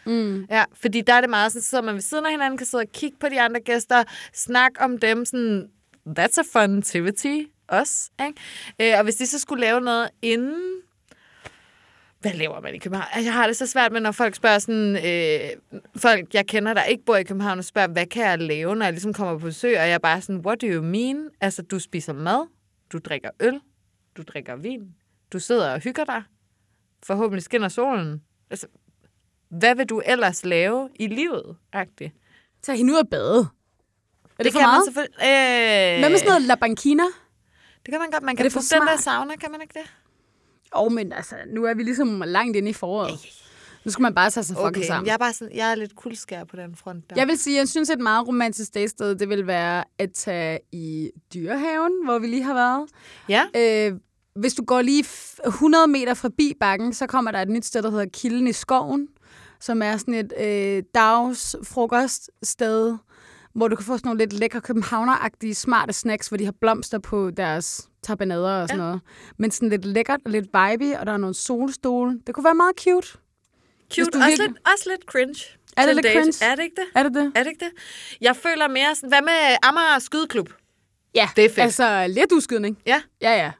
Speaker 4: Mm. Ja, fordi der er det meget sådan, så sidder man ved siden af hinanden, kan sidde og kigge på de andre gæster, snakke om dem, sådan, that's a fun activity, også, ikke? Øh, og hvis de så skulle lave noget inden, hvad laver man i København? Altså, Jeg har det så svært med, når folk spørger sådan, øh, folk jeg kender, der ikke bor i København, og spørger, hvad kan jeg lave, når jeg ligesom kommer på besøg, og jeg er bare sådan, what do you mean? Altså, du spiser mad, du drikker øl, du drikker vin, du sidder og hygger dig, forhåbentlig skinner solen. Altså, hvad vil du ellers lave i livet? Agtigt.
Speaker 2: Tag hende ud og bade. Er det, det for
Speaker 4: kan
Speaker 2: meget?
Speaker 4: man selvfølgelig... Øh,
Speaker 2: Hvad med sådan noget La Banquina?
Speaker 4: Det kan man godt. Man kan
Speaker 2: det for
Speaker 4: putte den der
Speaker 2: smart?
Speaker 4: sauna, kan man ikke det?
Speaker 2: Åh, oh, men altså, nu er vi ligesom langt inde i foråret. Nu skal man bare tage sig fucking sammen.
Speaker 4: jeg er, bare sådan, jeg er lidt kuldskær på den front der.
Speaker 2: Jeg vil sige, jeg synes et meget romantisk dagsted, det vil være at tage i dyrehaven, hvor vi lige har været.
Speaker 4: Ja.
Speaker 2: Øh, hvis du går lige f- 100 meter forbi bakken, så kommer der et nyt sted, der hedder Kilden i skoven, som er sådan et øh, dagsfrokoststed, hvor du kan få sådan nogle lidt lækre københavneragtige smarte snacks, hvor de har blomster på deres tabernader og sådan ja. noget. Men sådan lidt lækkert og lidt vibe, og der er nogle solstole. Det kunne være meget cute. hvis du
Speaker 4: Cute. Også
Speaker 2: virkelig-
Speaker 4: lidt, også lidt cringe.
Speaker 2: Er det
Speaker 4: til
Speaker 2: lidt
Speaker 4: date.
Speaker 2: cringe?
Speaker 4: Er det ikke det?
Speaker 2: Er det det?
Speaker 4: Er det ikke det? Jeg føler mere sådan, hvad med Amager Skydeklub?
Speaker 2: Ja,
Speaker 4: Det er fedt.
Speaker 2: Altså lidt udskydning.
Speaker 4: Ja,
Speaker 2: Ja, ja.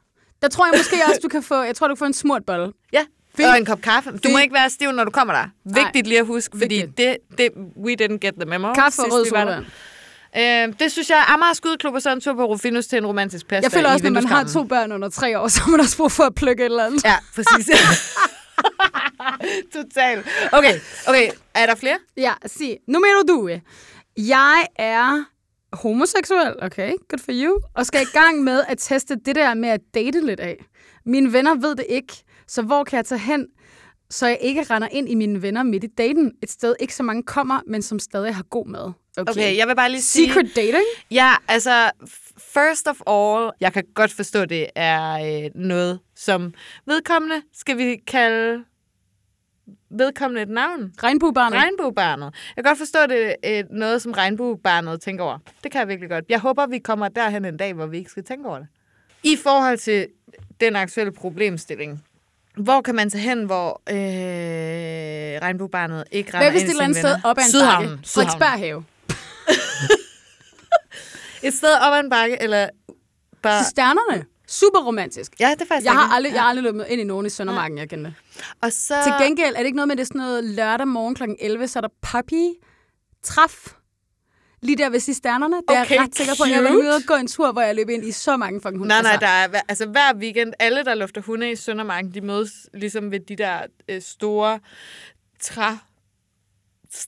Speaker 2: Der tror jeg måske også, du kan få, jeg tror, du kan få en smurt bolle.
Speaker 4: ja. Og en kop kaffe. Du må ikke være stiv, når du kommer der. Vigtigt lige at huske, fordi
Speaker 2: Vigtigt.
Speaker 4: det, det, we didn't get the memo.
Speaker 2: Kaffe og
Speaker 4: sidst
Speaker 2: rød
Speaker 4: vi var der.
Speaker 2: sodavand.
Speaker 4: Øh, det synes jeg, Amager Skudeklub og så en tur på Rufinus til en romantisk plads.
Speaker 2: Jeg føler også, når man har to børn under tre år, så har man også brug for at plukke et eller andet.
Speaker 4: Ja, præcis. Totalt. Okay, okay. Er der flere?
Speaker 2: Ja, sig. Numero due. Jeg er homoseksuel, okay, good for you, og skal i gang med at teste det der med at date lidt af. Mine venner ved det ikke, så hvor kan jeg tage hen, så jeg ikke render ind i mine venner midt i daten? Et sted ikke så mange kommer, men som stadig har god mad. Okay,
Speaker 4: Okay, jeg vil bare lige sige...
Speaker 2: Secret dating?
Speaker 4: Ja, altså, f- first of all, jeg kan godt forstå, det er øh, noget, som vedkommende, skal vi kalde vedkommende et navn?
Speaker 2: Regnbuebarnet?
Speaker 4: Regnbuebarnet. Jeg kan godt forstå, det er øh, noget, som regnbuebarnet tænker over. Det kan jeg virkelig godt. Jeg håber, vi kommer derhen en dag, hvor vi ikke skal tænke over det. I forhold til den aktuelle problemstilling, hvor kan man tage hen, hvor øh, regnbuebarnet ikke
Speaker 2: Hvad
Speaker 4: render ind
Speaker 2: hvis
Speaker 4: i
Speaker 2: det er et
Speaker 4: sine
Speaker 2: eller andet sted
Speaker 4: venner?
Speaker 2: op ad en
Speaker 4: Sydhavnen.
Speaker 2: bakke?
Speaker 4: Sydhavnen.
Speaker 2: Frederiksberg have.
Speaker 4: Et sted op ad en bakke, eller bare...
Speaker 2: Stjernerne? Super romantisk.
Speaker 4: Altså, Ja, det er faktisk
Speaker 2: Jeg har
Speaker 4: rigtigt.
Speaker 2: aldrig, jeg har aldrig løbet ind i nogen i Søndermarken, jeg kender.
Speaker 4: Og så...
Speaker 2: Til gengæld er det ikke noget med, at det er sådan noget lørdag morgen kl. 11, så er der puppy træf lige der ved cisternerne. Det er
Speaker 4: Okay,
Speaker 2: jeg ret sikker på. Jeg vil
Speaker 4: cute.
Speaker 2: ude og gå en tur, hvor jeg løber ind i så mange fucking hunde.
Speaker 4: Nej, nej, der er, hver- altså hver weekend, alle, der lufter hunde i Søndermarken, de mødes ligesom ved de der øh, store træstammer,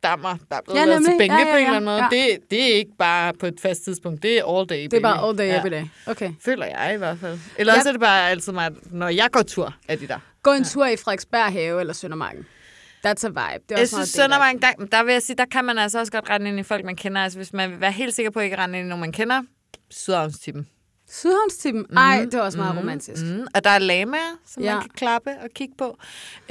Speaker 4: der er blevet
Speaker 2: Ja,
Speaker 4: ja, lavet til
Speaker 2: nemlig.
Speaker 4: bænke
Speaker 2: Ja, ja, ja.
Speaker 4: på en eller anden måde.
Speaker 2: Ja.
Speaker 4: Ja. Det, det er ikke bare på et fast tidspunkt, det er all day,
Speaker 2: det er bare all day, every day. Okay.
Speaker 4: Føler jeg i hvert fald. Eller
Speaker 2: Ja.
Speaker 4: også er det bare altid mig, at når jeg går tur, er de der.
Speaker 2: Gå en tur i Frederiksberg Have eller Søndermarken. That's a vibe. Det er
Speaker 4: Jeg
Speaker 2: også
Speaker 4: synes,
Speaker 2: meget
Speaker 4: Søndermarken, der, der vil jeg sige, der kan man altså også godt rende ind i folk, man kender. Altså, hvis man vil være helt sikker på, at ikke rende ind i nogen, man kender, Sydhavnstippen.
Speaker 2: Sydhavnstippen. Ej,
Speaker 4: Mm-hmm.
Speaker 2: det er også meget romantisk.
Speaker 4: Mm, og der er lamaer, som ja.
Speaker 2: Ja.
Speaker 4: man kan klappe og kigge på. Øh,
Speaker 2: Du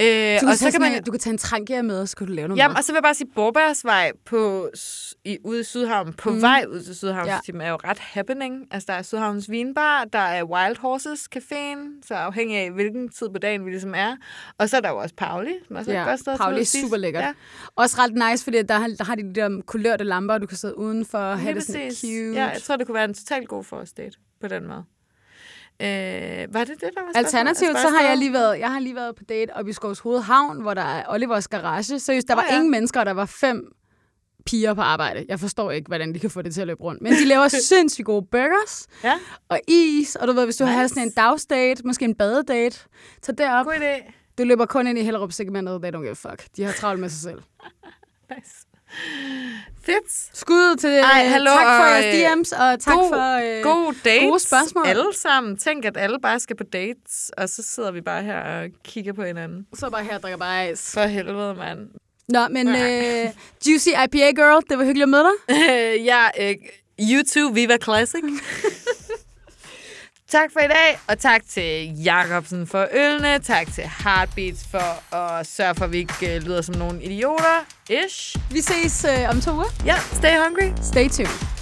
Speaker 2: kan, og så kan man... du kan tage en trangia med, og så kan du lave noget
Speaker 4: Jamen,
Speaker 2: mad.
Speaker 4: og så vil jeg bare sige, Borbergsvej på, s- i, ude i Sydhavn, på mm. vej ud til Sydhavnstimen, ja. er jo ret happening. Altså, der er Sydhavns Vinbar, der er Wild Horses Caféen, så afhængig af, hvilken tid på dagen vi ligesom er. Og så er der jo også Pauli, som også er et godt sted at tage ud
Speaker 2: Pauli er
Speaker 4: og spise.
Speaker 2: super lækkert. Ja. Også ret nice, fordi der, har- der har de de der kulørte lamper, og du kan sidde udenfor og have
Speaker 4: Lige
Speaker 2: det sådan
Speaker 4: præcis.
Speaker 2: cute.
Speaker 4: Ja, jeg tror, det kunne være en totalt god first date på den måde. Øh, var det det, der var spørgsmålet?
Speaker 2: Alternativt, så
Speaker 4: Spørgsmålet?
Speaker 2: har jeg lige været, jeg har lige været på date oppe i Skovs Hovedhavn, hvor der er Olivers garage. Seriøst, der
Speaker 4: Åh,
Speaker 2: var
Speaker 4: ja.
Speaker 2: ingen mennesker, og der var fem piger på arbejde. Jeg forstår ikke, hvordan de kan få det til at løbe rundt. Men de laver sindssygt gode burgers
Speaker 4: Ja,
Speaker 2: og is, og du ved, hvis du nice. har
Speaker 4: Nice.
Speaker 2: sådan en dagsdate, måske en badedate, tag derop.
Speaker 4: god idé.
Speaker 2: Du løber kun ind i Hellerup-segmentet, they don't give a fuck. De har travlt med sig selv.
Speaker 4: Nice. Fedt.
Speaker 2: Skud til,
Speaker 4: Ej,
Speaker 2: øh,
Speaker 4: hallo,
Speaker 2: tak for
Speaker 4: og,
Speaker 2: jeres
Speaker 4: øh,
Speaker 2: DM's, og tak
Speaker 4: god,
Speaker 2: for... øh,
Speaker 4: god dates.
Speaker 2: gode spørgsmål.
Speaker 4: Alle sammen. Tænk, at alle bare skal på dates, og så sidder vi bare her og kigger på hinanden.
Speaker 2: Så bare her og drikker bare is.
Speaker 4: For helvede, mand.
Speaker 2: Nå, men
Speaker 4: Nej.
Speaker 2: øh, Juicy IPA Girl, det var hyggeligt at møde dig.
Speaker 4: Øh, ja, øh, YouTube Viva Classic. tak for i dag, og tak til Jacobsen for ølene. Tak til Heartbeats for at sørge for, at vi ikke øh, lyder som nogle idioter. Ish.
Speaker 2: Vi ses øh, om to uger.
Speaker 4: Ja, stay hungry.
Speaker 2: Stay tuned.